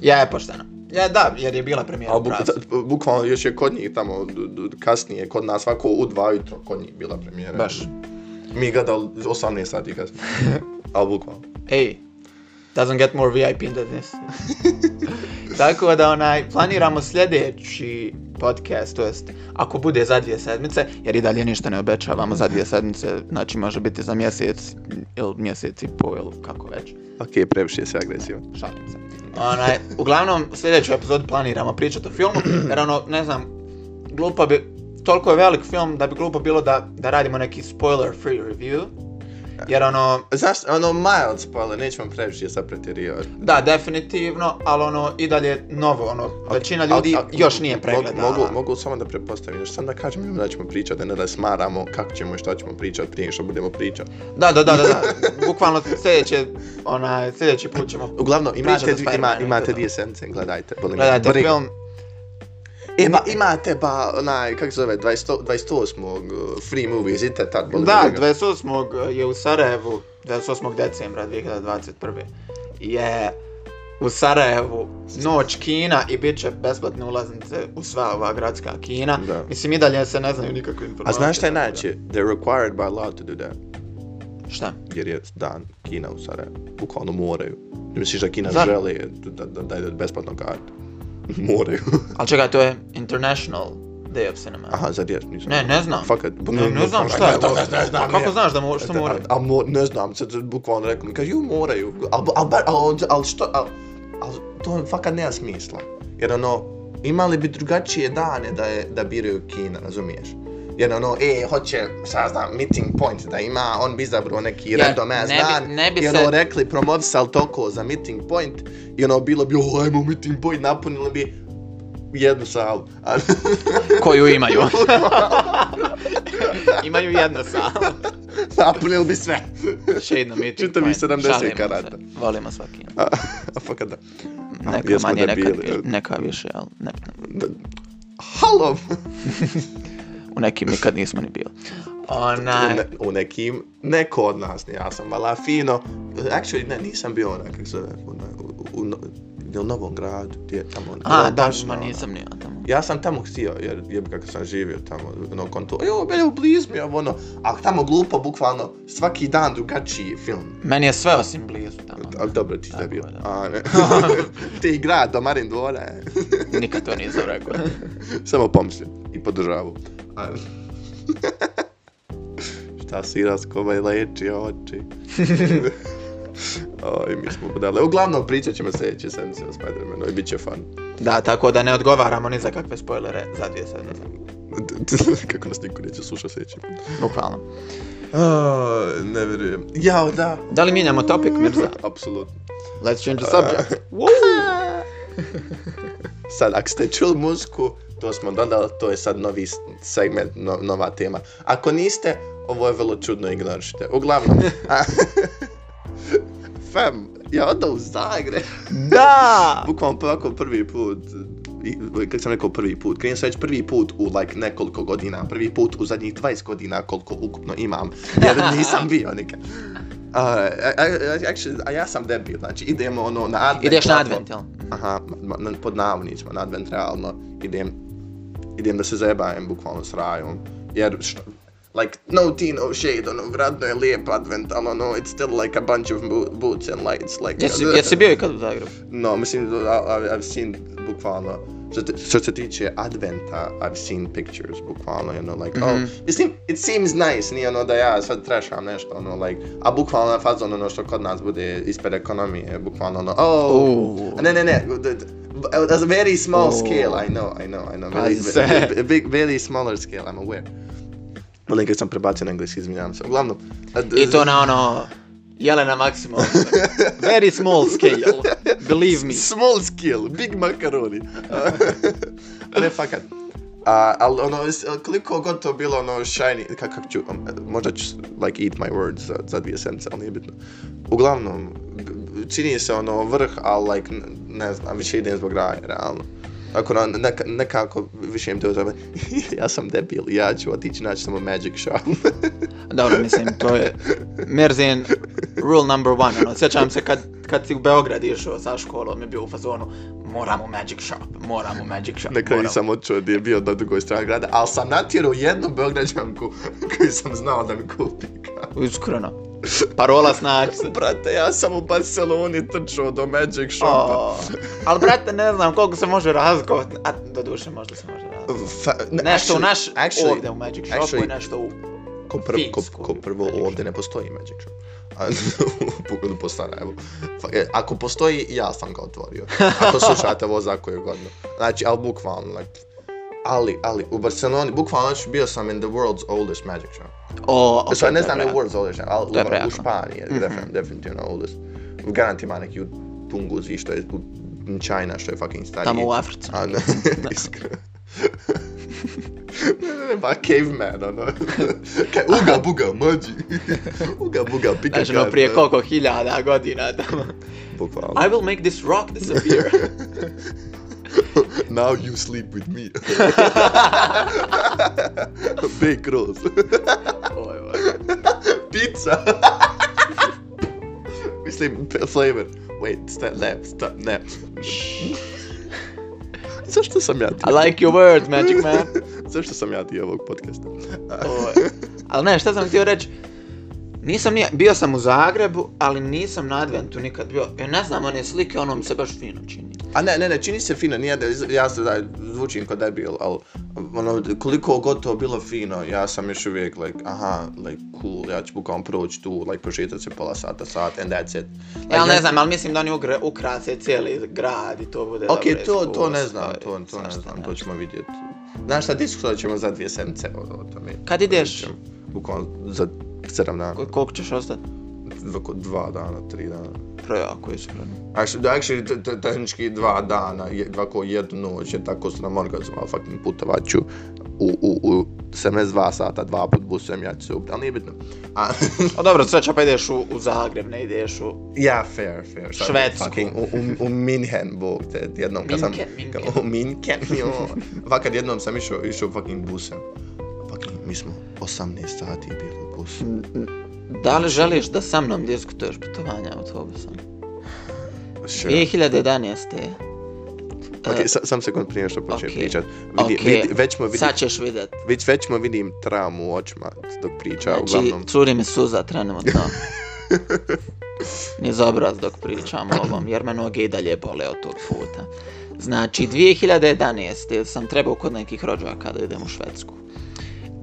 [SPEAKER 1] Ja je pošteno. Ja da, jer je bila premijera
[SPEAKER 2] A
[SPEAKER 1] u
[SPEAKER 2] buk,
[SPEAKER 1] pravu.
[SPEAKER 2] ta- bukvalno još je kod njih tamo, d- d- kasnije, kod nas, svako u dva jutro kod njih bila premijera.
[SPEAKER 1] Baš.
[SPEAKER 2] Mi gledali 18 sati kasnije. Ali bukvalno.
[SPEAKER 1] Ej, doesn't get more VIP than this. Tako da onaj, planiramo sljedeći podcast, to jest ako bude za dvije sedmice, jer i dalje ništa ne obećavamo za dvije sedmice, znači može biti za mjesec ili mjesec i pol ili kako već,
[SPEAKER 2] Ok, previše se agresivan.
[SPEAKER 1] šalim se. Onaj, uglavnom, sljedeću epizodu planiramo pričati o filmu, jer ono, ne znam, glupo bi, toliko je velik film da bi glupo bilo da, da radimo neki spoiler free review, jer ono,
[SPEAKER 2] Znaš, ono mild spoiler, nećemo previše sad pretjerivati.
[SPEAKER 1] Da, definitivno, ali ono, i dalje je novo, ono, većina ljudi
[SPEAKER 2] Al- al-
[SPEAKER 1] još nije pregledala.
[SPEAKER 2] Mogu, mogu, mogu samo da prepostavim, još sam da kažem ljudima da ćemo pričati, a ne da smaramo kako ćemo i šta ćemo pričati prije što budemo pričati.
[SPEAKER 1] Da, da, da, da, da. bukvalno sljedeće, onaj, sljedeći put ćemo
[SPEAKER 2] Uglavnom,
[SPEAKER 1] Priča
[SPEAKER 2] imate,
[SPEAKER 1] za
[SPEAKER 2] dvi, ima,
[SPEAKER 1] Spider-Man, to
[SPEAKER 2] imate
[SPEAKER 1] je to.
[SPEAKER 2] dvije sence, gledajte. Bolim,
[SPEAKER 1] gledati
[SPEAKER 2] bolim.
[SPEAKER 1] film.
[SPEAKER 2] Ima, imate ba, onaj, kako se zove, 20, 28. uh, free movies, idite tad, bolim.
[SPEAKER 1] Da,
[SPEAKER 2] bolim.
[SPEAKER 1] 28. je u Sarajevu, 28. decembra 2021. je u Sarajevu noć kina i bit će besplatne ulaznice u sva ova gradska kina.
[SPEAKER 2] Da.
[SPEAKER 1] Mislim, i dalje se ne znaju nikakve informacije.
[SPEAKER 2] A znaš šta je
[SPEAKER 1] tako da.
[SPEAKER 2] najče? They're required by law to do that.
[SPEAKER 1] Šta?
[SPEAKER 2] Jer je dan Kina u Sarajevu. Bukvalno moraju. Misliš da Kina
[SPEAKER 1] Zar-
[SPEAKER 2] želi da, da, da ide besplatno kartu? moraju.
[SPEAKER 1] Ali čekaj, to je International Day of Cinema.
[SPEAKER 2] Aha, zar je? Nisam.
[SPEAKER 1] Ne, ne znam.
[SPEAKER 2] Fakat,
[SPEAKER 1] Ne, ne znam šta je to.
[SPEAKER 2] Ne, ne znam,
[SPEAKER 1] A kako
[SPEAKER 2] ne.
[SPEAKER 1] znaš da mo, što mora?
[SPEAKER 2] A, a mo, ne znam, sad bukvalno rekao mi, kaže, ju moraju, al, al, al, al, al što, al, al, to fakat nema smisla. Jer ono, imali bi drugačije dane da, je, da biraju Kina, razumiješ? Jer ono, e, hoće, šta znam, meeting point da ima, on bi izabrao neki
[SPEAKER 1] Ja,
[SPEAKER 2] random ass
[SPEAKER 1] ne bi-
[SPEAKER 2] dan.
[SPEAKER 1] ne bi
[SPEAKER 2] I ono,
[SPEAKER 1] se-
[SPEAKER 2] rekli, promovisali toko za meeting point. I ono, bilo bi, o, ajmo meeting point, napunili bi jednu salu. A-
[SPEAKER 1] Koju imaju. imaju jednu salu.
[SPEAKER 2] napunili bi sve.
[SPEAKER 1] Shade na meeting.
[SPEAKER 2] Čitavi
[SPEAKER 1] point.
[SPEAKER 2] 70
[SPEAKER 1] Šalimo se.
[SPEAKER 2] karata.
[SPEAKER 1] Volimo svaki.
[SPEAKER 2] A, a pa fakat da.
[SPEAKER 1] Neka
[SPEAKER 2] jesmo
[SPEAKER 1] manje, neka,
[SPEAKER 2] debili.
[SPEAKER 1] neka više, ali ne,
[SPEAKER 2] Da- Halo!
[SPEAKER 1] u nekim nikad nismo ni bili. Onaj,
[SPEAKER 2] U, ne, u nekim, neko od nas, ne, ja sam vala fino. Actually, ne, nisam bio ona, kako se zove, ona, u, u, no- gdje u Novom gradu, gdje je tamo...
[SPEAKER 1] a,
[SPEAKER 2] ona,
[SPEAKER 1] da,
[SPEAKER 2] baš
[SPEAKER 1] ma
[SPEAKER 2] ona.
[SPEAKER 1] nisam ni ja tamo.
[SPEAKER 2] Ja sam tamo htio, jer jeb kako sam živio tamo, ono konto, jo, mene u blizu mi je ovo, ono, a tamo glupo, bukvalno, svaki dan drugačiji film.
[SPEAKER 1] Meni je sve osim blizu tamo.
[SPEAKER 2] Ali dobro, ti ste bio.
[SPEAKER 1] da.
[SPEAKER 2] A, ne. ti grad, domarin dvora, e. je.
[SPEAKER 1] Nikad to nisam rekao.
[SPEAKER 2] Samo pomislim i podržavu. A- Šta si raskova i leči oči. Oj, mi smo podale. Uglavnom, pričat ćemo sljedeće sedmice o Spider-Manu i bit će fun.
[SPEAKER 1] Da, tako da ne odgovaramo ni za kakve spoilere za dvije sedmice.
[SPEAKER 2] Kako nas niko neće slušati sljedeći put.
[SPEAKER 1] Bukvalno.
[SPEAKER 2] Oh, ne vjerujem. Jao, da.
[SPEAKER 1] Da li mijenjamo topic, Mirza?
[SPEAKER 2] Apsolutno.
[SPEAKER 1] Let's change the subject.
[SPEAKER 2] Sad, ako ste čuli muziku, to smo dodali, to je sad novi s- segment, no, nova tema. Ako niste, ovo je vrlo čudno, ignorište. Uglavnom, a, fam, ja odo u Zagreb.
[SPEAKER 1] Da!
[SPEAKER 2] Bukvalno ovako prvi put i- kad sam rekao prvi put, krenuo sam već prvi put u like nekoliko godina, prvi put u zadnjih 20 godina koliko ukupno imam, jer nisam bio nikad. Uh, I, I, actually, a ja sam debil, znači idemo ono na advent.
[SPEAKER 1] Ideš na
[SPEAKER 2] ovako-
[SPEAKER 1] advent, jel?
[SPEAKER 2] Aha, ma- ma- pod navodnicima, na advent realno idem, idem da se zajebajem bukvalno s rajom, jer što, like, no teen, no shade, ono, vratno je lijep advent, ali ono, it's still like a bunch of bo boots and lights, like...
[SPEAKER 1] Jesi, jesi bio i kad u Zagrebu?
[SPEAKER 2] No, mislim, I- I've, I've seen, bukvalno, što, te- što se tiče adventa, I've seen pictures, bukvalno, you know, like, mm
[SPEAKER 1] Mhm.
[SPEAKER 2] -hmm. oh, it, seem, it seems nice, nije ono da ja sad trešam nešto, ono, like, a bukvalno na fazon, ono, što kod nas bude ispred ekonomije, bukvalno, ono, oh,
[SPEAKER 1] Uuu.
[SPEAKER 2] a Ne, ne, ne. d- d- That's a very small
[SPEAKER 1] Oh.
[SPEAKER 2] scale, I know, I know, I know. Very,
[SPEAKER 3] Pazi se.
[SPEAKER 2] very, very, very smaller scale, I'm aware. Volim kad sam prebacio na engleski, izvinjavam se. Uglavnom... a d-
[SPEAKER 1] I to na ono... Jelena Maximović. Very small scale. Believe me.
[SPEAKER 2] Small scale, big macaroni. ne, fakat. A, ali ono, s- koliko god to bilo ono shiny, kak, kak ću, um, možda ću like eat my words za, za dvije sedmice, ali nije bitno. Uglavnom, b- b- čini se ono vrh, ali like, n- ne znam, više idem zbog raja, realno. Ako na, neka, nekako više im to zove, ja sam debil, ja ću otići naći samo magic shop.
[SPEAKER 1] Dobro, mislim, to je Merzin rule number one. Ono, sjećam se kad, kad si u Beograd išao sa školom je bio u fazonu moramo Magic Shop, moramo Magic Shop,
[SPEAKER 2] Na kraju
[SPEAKER 1] moramo.
[SPEAKER 2] sam odčuo da je bio na drugoj strani grada, ali sam natjerao jednu Beograđanku koju sam znao da mi kupi.
[SPEAKER 1] Iskreno. Parola snaći se.
[SPEAKER 2] Brate, ja sam u Barceloni trčao do Magic Shopa.
[SPEAKER 1] O, ali brate, ne znam koliko se može razgovat. A, do duše možda se može razgovat.
[SPEAKER 2] Fa, ne,
[SPEAKER 1] Nešto u naš,
[SPEAKER 2] actually,
[SPEAKER 1] ovdje u Magic Shopu
[SPEAKER 2] actually-
[SPEAKER 1] i nešto u...
[SPEAKER 2] ko, prv, ko,
[SPEAKER 1] Finsku
[SPEAKER 2] ko prvo
[SPEAKER 1] Magic
[SPEAKER 2] ovdje ne postoji Magic Shop. A, pogledu po stara, evo. Fa- e, Ako postoji, ja sam ga otvorio. Ako slušate ovo za koju godinu. Znači, ali bukvalno, like, ali, ali, u Barceloni, bukvalno, znači, bio sam in the world's oldest Magic Shop.
[SPEAKER 1] O, okay,
[SPEAKER 2] Okay, so, ne
[SPEAKER 1] to je
[SPEAKER 2] znam, ne
[SPEAKER 1] brate.
[SPEAKER 2] world's oldest, ali
[SPEAKER 1] To je
[SPEAKER 2] u, u
[SPEAKER 1] prijatno.
[SPEAKER 2] Španiji je defin- definitivno oldest. Garant ima neki u Tunguzi, što je u China, što je fucking stariji.
[SPEAKER 1] Tamo u Africi.
[SPEAKER 2] A ne, iskreno. ne, ne, ne, ba caveman, ono. Kaj, uga buga, mađi. uga buga, pika
[SPEAKER 1] Znači, ono, prije koliko hiljada godina tamo.
[SPEAKER 2] Bukvalno.
[SPEAKER 1] I will make this rock disappear.
[SPEAKER 2] Now you sleep with me. Big rolls.
[SPEAKER 1] Oj, oj.
[SPEAKER 2] Pizza. Mislim, p- flavor. Wait, step, ne, step, ne. Zašto sam ja ti?
[SPEAKER 1] I like your word, Magic Man.
[SPEAKER 2] Zašto sam ja ti ovog podcasta?
[SPEAKER 1] Ovaj, ali ne, šta sam htio reći, nisam nije, bio sam u Zagrebu, ali nisam na adventu nikad bio. Ja ne znam, one slike, ono mi se baš fino čini.
[SPEAKER 2] A ne, ne, ne, čini se fino, nije da, ja se da zvučim kao debil, ali ono, koliko god to bilo fino, ja sam još uvijek, like, aha, like, cool, ja ću bukvalno proći tu, like, prošetat se pola sata, sat, and that's it. Like,
[SPEAKER 1] Ja ali ne znam, ali mislim da oni ugra, ukrase cijeli grad i to bude
[SPEAKER 2] Okej,
[SPEAKER 1] dobra
[SPEAKER 2] to, to ne
[SPEAKER 1] iskustva
[SPEAKER 2] znam,
[SPEAKER 1] i
[SPEAKER 2] to, to ne
[SPEAKER 1] svašta
[SPEAKER 2] znam,
[SPEAKER 1] nešto.
[SPEAKER 2] to ćemo vidjeti. Znaš šta, diskutovat ćemo za dvije semce o, o tome.
[SPEAKER 1] Kad ideš?
[SPEAKER 2] Bukvalno za sedam dana,
[SPEAKER 1] Ko- Koliko ćeš ostati?
[SPEAKER 2] oko dva dana, tri dana.
[SPEAKER 1] Prejako je iskreno.
[SPEAKER 2] Actually, da, actually te- te- tehnički dva dana, je, ovako jednu noć, jer tako su nam organizovali fucking putovaću u, u, u 72 sata, dva put busem, ja ću se ubiti, ali nije bitno. A,
[SPEAKER 1] A dobro, sreća pa ideš u, u Zagreb, ne ideš u...
[SPEAKER 2] ja, fair, fair. Sad
[SPEAKER 1] Švedsku.
[SPEAKER 2] Fucking, u, u, u Minhen, bog te, jednom kad sam...
[SPEAKER 1] Minken, Minken.
[SPEAKER 2] U Minhen, jo. Fakat jednom sam išao, išao fucking busem. Fucking, mi smo 18 sati bili u busu.
[SPEAKER 1] Da li želiš da sa mnom diskutuješ putovanja autobusom?
[SPEAKER 2] Sure.
[SPEAKER 1] E, 2011.
[SPEAKER 2] Ok, sa, sam sekund prije što počnem
[SPEAKER 1] ok,
[SPEAKER 2] pričat. Vidi,
[SPEAKER 1] ok.
[SPEAKER 2] vidi, već smo Pa vidi,
[SPEAKER 1] Sad ćeš vidjet.
[SPEAKER 2] već, već smo vidim tramu u očima dok priča,
[SPEAKER 1] Znači,
[SPEAKER 2] uglavnom.
[SPEAKER 1] curi mi suza trenutno. Niz obraz dok pričam o ovom, jer me noge i dalje bole od tog puta. Znači, 2011. sam trebao kod nekih rođaka da idem u Švedsku.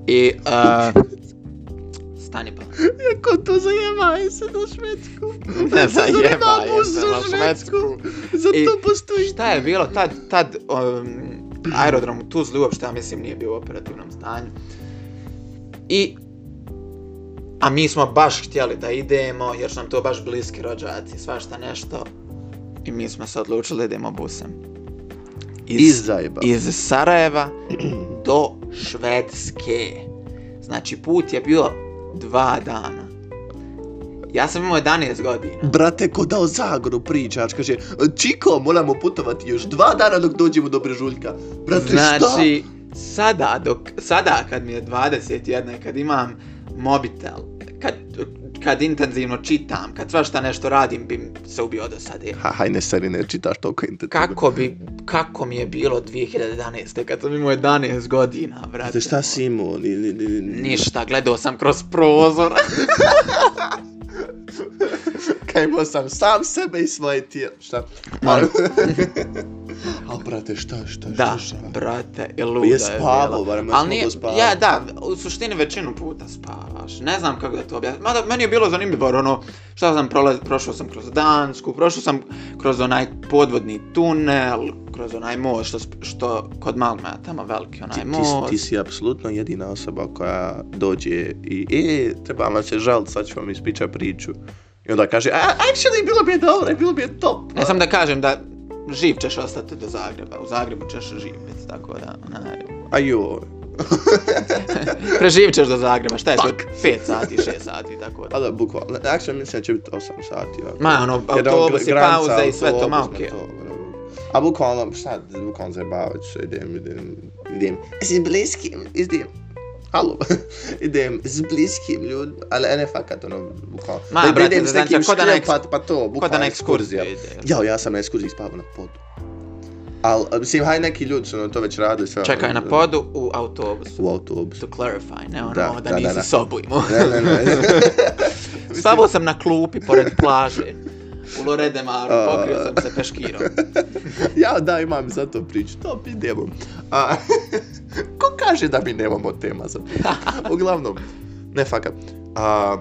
[SPEAKER 1] I, uh, stani pa.
[SPEAKER 2] Ko to zajebaju se na Švedsku?
[SPEAKER 1] Ne zajebaju se na Švedsku. I
[SPEAKER 2] postoji...
[SPEAKER 1] Šta je bilo tad, tad um, aerodrom u Tuzli uopšte, ja mislim, nije bio u operativnom stanju. I A mi smo baš htjeli da idemo, jer su nam to baš bliski rođaci, svašta nešto. I mi smo se odlučili da idemo busem.
[SPEAKER 2] Iz zajeba.
[SPEAKER 1] iz Sarajeva do Švedske. Znači, put je bio dva dana. Ja sam imao 11 godina.
[SPEAKER 2] Brate, ko dao Zagoru pričač, kaže, Čiko, moramo putovati još dva dana dok dođemo do Brežuljka. Brate, šta?
[SPEAKER 1] Znači, sada, dok, sada kad mi je 21 i kad imam mobitel, kad, kad intenzivno čitam, kad svašta nešto radim, bi se ubio do sada.
[SPEAKER 2] Ha, hajne, seri, ne čitaš toliko intenzivno.
[SPEAKER 1] Kako bi, kako mi je bilo 2011. kad sam imao 11 godina, brate.
[SPEAKER 2] Znači, šta si imao? Ni, ni, ni, ni.
[SPEAKER 1] Ništa, gledao sam kroz prozor.
[SPEAKER 2] Kaj imao sam sam sebe i svoje tijelo. Šta?
[SPEAKER 1] Ma-
[SPEAKER 2] Al, brate, šta, šta, šta,
[SPEAKER 1] da,
[SPEAKER 2] šta?
[SPEAKER 1] brate, i luda
[SPEAKER 2] ono. Je
[SPEAKER 1] je
[SPEAKER 2] spavao,
[SPEAKER 1] bila.
[SPEAKER 2] barem ja sam
[SPEAKER 1] Ali nije,
[SPEAKER 2] mogao spavati.
[SPEAKER 1] ja, da, u suštini većinu puta spavaš. Ne znam kako da to objasnim. Mada, meni je bilo zanimljivo, jer ono, šta sam prolaz, prošao sam kroz Dansku, prošao sam kroz onaj podvodni tunel, kroz onaj most, što, sp- što kod Malmea, tamo veliki onaj
[SPEAKER 2] Ti, ti,
[SPEAKER 1] most.
[SPEAKER 2] ti si apsolutno jedina osoba koja dođe i e, treba vam se žaliti, sad ću vam ispriča priču. I onda kaže, a, actually, bilo bi je dobro, bilo bi je top.
[SPEAKER 1] Ne sam da kažem da živ ćeš ostati do Zagreba, u Zagrebu ćeš živjeti, tako da, onaj,
[SPEAKER 2] A joj.
[SPEAKER 1] preživit ćeš do Zagreba, šta je to, 5 sati, 6 sati, tako da.
[SPEAKER 2] Pa da, bukvalno. Actually, mislim da će biti 8 sati. Ovako.
[SPEAKER 1] Ma, ono, autobus i pauza i sve to, ma okej.
[SPEAKER 2] A bukvalno, šta, bukvalno zajebavat ću se, idem, idem, idem. S bliskim, idem. Halo, idem s bliskim ljudima, ali ne fakat, ono, bukvalno.
[SPEAKER 1] Ma,
[SPEAKER 2] da,
[SPEAKER 1] brate,
[SPEAKER 2] idem s
[SPEAKER 1] znači,
[SPEAKER 2] nekim
[SPEAKER 1] ko da na eks-
[SPEAKER 2] škripat, pa to, bukvalno
[SPEAKER 1] Ko da na
[SPEAKER 2] ekskurzija.
[SPEAKER 1] ekskurziju ide.
[SPEAKER 2] Jao, ja sam na ekskurziji spavao na podu. Al, a, mislim, haj neki ljudi su ono, to već radili sve.
[SPEAKER 1] Čekaj
[SPEAKER 2] ono,
[SPEAKER 1] na podu u autobusu.
[SPEAKER 2] U autobusu.
[SPEAKER 1] To clarify, ne ono
[SPEAKER 2] Da,
[SPEAKER 1] da, da,
[SPEAKER 2] da, da,
[SPEAKER 1] nisi
[SPEAKER 2] da.
[SPEAKER 1] sobu imao.
[SPEAKER 2] Ne, ne, ne.
[SPEAKER 1] Stavao sam na klupi pored plaže. U Lorede Maru,
[SPEAKER 2] A.
[SPEAKER 1] pokrio sam se peškirom.
[SPEAKER 2] ja, da, imam za to priču. To mi nemam. A, ko kaže da mi nemamo tema za priču? Uglavnom, ne fakat. A,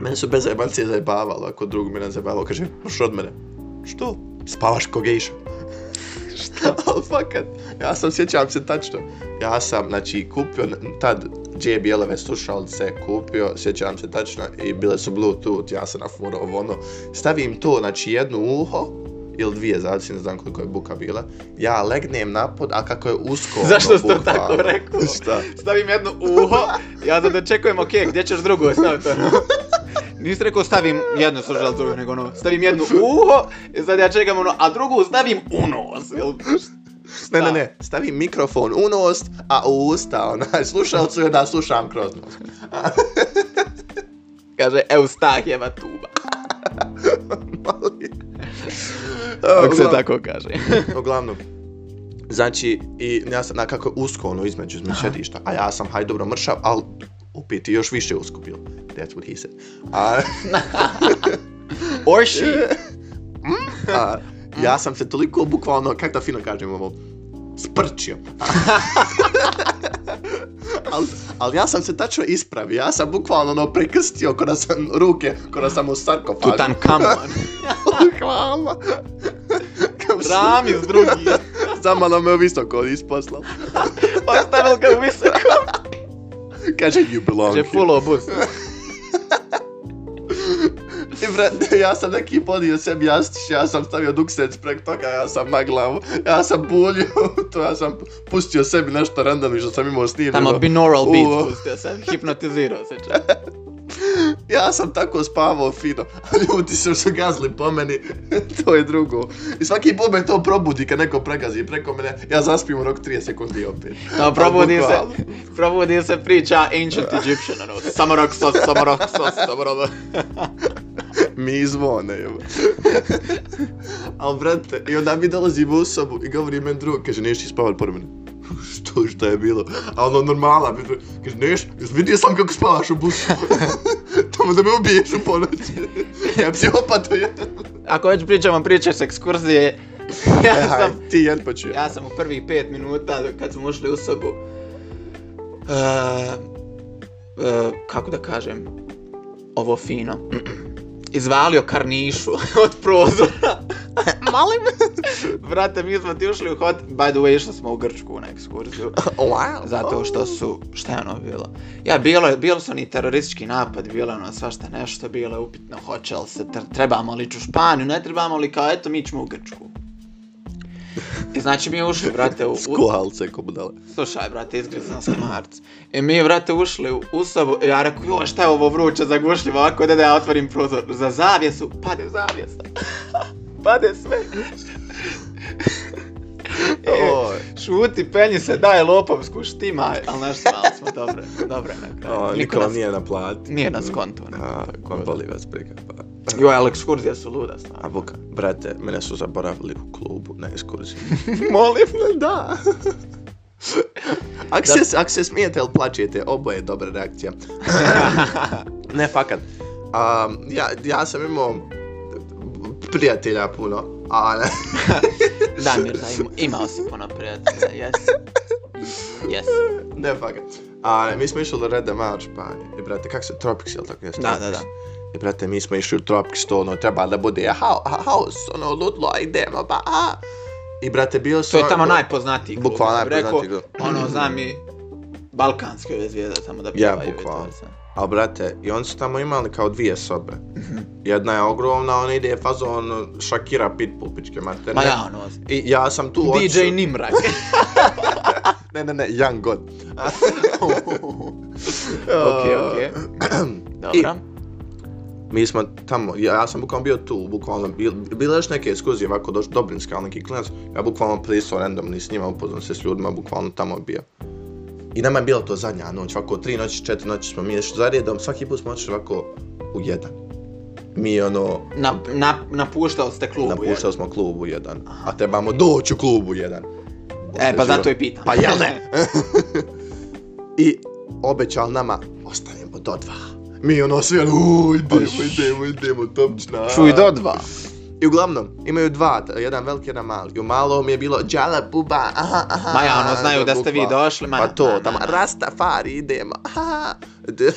[SPEAKER 2] mene su bez zajebancije zajebavalo, ako drug mene zajebavalo, kaže, što od mene? Što? Spavaš ko gejša. Šta? Al fakat, ja sam, sjećam se tačno. Ja sam, znači, kupio n- tad JBL-ove slušalce, kupio, sjećam se tačno, i bile su Bluetooth, ja sam nafurao ovo ono. Stavim to, znači, jedno uho, ili dvije, zavisi, ne znam koliko je buka bila, ja legnem napod, a kako je usko... ono,
[SPEAKER 1] Zašto si to
[SPEAKER 2] bukvalno-
[SPEAKER 1] tako rekao?
[SPEAKER 2] Šta?
[SPEAKER 1] Stavim jedno uho, ja sad očekujem, ok, gdje ćeš drugo staviti ono? Nisi rekao stavim jednu slušalcu, nego ono, stavim jednu uho, i sad ja čekam ono, a drugu stavim u nos, jel?
[SPEAKER 2] Ne, ne,
[SPEAKER 1] Šta?
[SPEAKER 2] ne, stavim mikrofon u nos, a u usta, onaj, slušalcu i onda slušam kroz nos.
[SPEAKER 1] Kaže, Eustahijeva tuba.
[SPEAKER 2] Malo je.
[SPEAKER 1] Kako se
[SPEAKER 2] Uglavnom-
[SPEAKER 1] tako kaže.
[SPEAKER 2] Uglavnom, znači, i ja sam nekako usko ono između, između sjedišta, a ja sam, haj dobro, mršav, ali opet i još više usko bilo. That's what he said. A,
[SPEAKER 1] Or she.
[SPEAKER 2] a, ja sam se toliko bukvalno, kako da fino kažem ovo, sprčio. ali al ja sam se tačno ispravio, ja sam bukvalno ono prekrstio kada sam ruke, kada sam u sarkofagu.
[SPEAKER 1] Tutankamon.
[SPEAKER 2] Hvala. Kao što-
[SPEAKER 1] Ramis drugi.
[SPEAKER 2] Zamalo me u visoko isposlao.
[SPEAKER 1] Ostavil ga u visoko.
[SPEAKER 2] Kaže, you belong
[SPEAKER 1] Že
[SPEAKER 2] here.
[SPEAKER 1] full obus.
[SPEAKER 2] I brate, ja sam neki podio sebi jastić, ja sam stavio duksec prek toga, ja sam maglav, ja sam bulio, to ja sam pustio sebi nešto random i što sam imao snimljeno.
[SPEAKER 1] Tamo binaural
[SPEAKER 2] U.
[SPEAKER 1] beat pustio sam. Hipnotizirao se čak.
[SPEAKER 2] Ja sam tako spavao fino, a ljudi se su gazli po meni, to je drugo. I svaki put me to probudi kad neko pregazi preko mene, ja zaspim u rok 30 sekundi opet.
[SPEAKER 1] No, probudi se,
[SPEAKER 2] Bukvalno.
[SPEAKER 1] probudi se priča Ancient Egyptian, ono, Samoroksos, Samoroksos, Samoroksos.
[SPEAKER 2] Mi izvone, jeba. Al, brate, i onda mi dolazimo u sobu i govori meni drug, kaže, neš ti spavat pored mene. što, šta je bilo? A ono normala, mi drug- kaže, neš, vidio sam kako spavaš u busu. Tamo da me ubiješ u ponoći. ja psihopato je.
[SPEAKER 1] Ako već pričamo priče s ekskurzije,
[SPEAKER 2] E,
[SPEAKER 1] ja sam
[SPEAKER 2] Aj, ti jed pa ću ja.
[SPEAKER 1] Ja sam u prvi 5 minuta kad smo ušli u sobu uh, uh, kako da kažem ovo fino izvalio karnišu od prozora. Molim? Brate, mi smo ti ušli u hot... By the way, išli smo u Grčku na ekskurziju.
[SPEAKER 2] Wow.
[SPEAKER 1] Zato što su, šta je ono bilo? Ja, bilo je, bilo su oni teroristički napad, bilo je ono svašta nešto, bilo je upitno hoće li se, tre- trebamo li ići u Španiju, ne trebamo li, kao eto mi ćemo u Grčku. I znači mi ušli, brate, u, u,
[SPEAKER 2] Skuhalce, ko budale.
[SPEAKER 1] Slušaj, brate, izgrizan sam marc. I mi je, brate, ušli u, u sobu, i ja rekao, joj, šta je ovo vruće, zagušljivo, ovako da da ja otvorim prozor. Za zavjesu, pade zavjesa. pade sve. e,
[SPEAKER 2] Oj.
[SPEAKER 1] šuti, penji se, daj lopovsku, štimaj. Ali znaš, malo smo dobre, dobre na kraju.
[SPEAKER 2] O,
[SPEAKER 1] Niko
[SPEAKER 2] niko vam
[SPEAKER 1] nas-
[SPEAKER 2] nije naplatio.
[SPEAKER 1] Nije nas konto. Ne.
[SPEAKER 2] A, ko boli vas briga, pa.
[SPEAKER 1] Joj, Alex Kurzija su luda stvarno.
[SPEAKER 2] A buka, brate, mene su zaboravili u klubu na ekskurziji.
[SPEAKER 1] Molim.
[SPEAKER 2] Ne, da. Ak se, ak se smijete ili plačete, oboje je dobra reakcija. ne, fakat. Um, ja, ja sam imao prijatelja puno, a ne,
[SPEAKER 1] Damir, da, ima, imao si puno prijatelja, jesi. Jesi.
[SPEAKER 2] ne fakat. A, mi smo išli do Red Mar Španije, i brate, kak se, Tropics, jel tako jesu?
[SPEAKER 1] Da, da, da.
[SPEAKER 2] I brate, mi smo išli u Tropics, to ono, treba da bude ha- house, ono, ludlo, a idemo, ba, a. I brate, bio sam...
[SPEAKER 1] To je tamo najpoznatiji klub.
[SPEAKER 2] Bukvalno
[SPEAKER 1] ja bih
[SPEAKER 2] najpoznatiji
[SPEAKER 1] rekao,
[SPEAKER 2] klub.
[SPEAKER 1] Ono, znam i balkanske ove zvijezde samo da
[SPEAKER 2] Ja,
[SPEAKER 1] pjevaju. i to
[SPEAKER 2] bukvalno.
[SPEAKER 1] sve.
[SPEAKER 2] A brate, i oni su tamo imali kao dvije sobe. Jedna je ogromna, ona ide fazon Shakira Pitbull, pičke materne.
[SPEAKER 1] Ma ja, ono,
[SPEAKER 2] I ja sam tu
[SPEAKER 1] DJ Nimrak.
[SPEAKER 2] Ne, ne, ne, Young God.
[SPEAKER 1] Okej, okej. Dobro.
[SPEAKER 2] Mi smo tamo, ja, ja sam bukvalno bio tu, bukvalno, bil, bila je još neke ekskurzije, ovako došli Dobrinska, ali neki klinac, ja bukvalno pristao randomni s njima, upoznam se s ljudima, bukvalno tamo bio. I nama je bila to zadnja noć, ovako tri noći, četiri noći smo mi nešto za redom, svaki put smo otišli ovako u jedan. Mi ono,
[SPEAKER 1] Na, na, napuštao ste klub.
[SPEAKER 2] Napuštali smo klub u jedan, a trebamo doći u klub u jedan.
[SPEAKER 1] E, pa zato i pitam.
[SPEAKER 2] Pa jel ne? I obećal nama, ostanemo do dva. Mi ono svi ono, "U, idemo, idemo, idemo, topčna.
[SPEAKER 1] Čuj do dva.
[SPEAKER 2] I uglavnom, imaju dva, t- jedan veliki, jedan mali. I u malom je bilo, džala buba, aha, aha.
[SPEAKER 1] Ma ja, ono, znaju da ste vi
[SPEAKER 2] bukva.
[SPEAKER 1] došli, ma.
[SPEAKER 2] Pa
[SPEAKER 1] ma,
[SPEAKER 2] to,
[SPEAKER 1] ma,
[SPEAKER 2] tamo,
[SPEAKER 1] ma.
[SPEAKER 2] Rastafari, idemo, aha. D-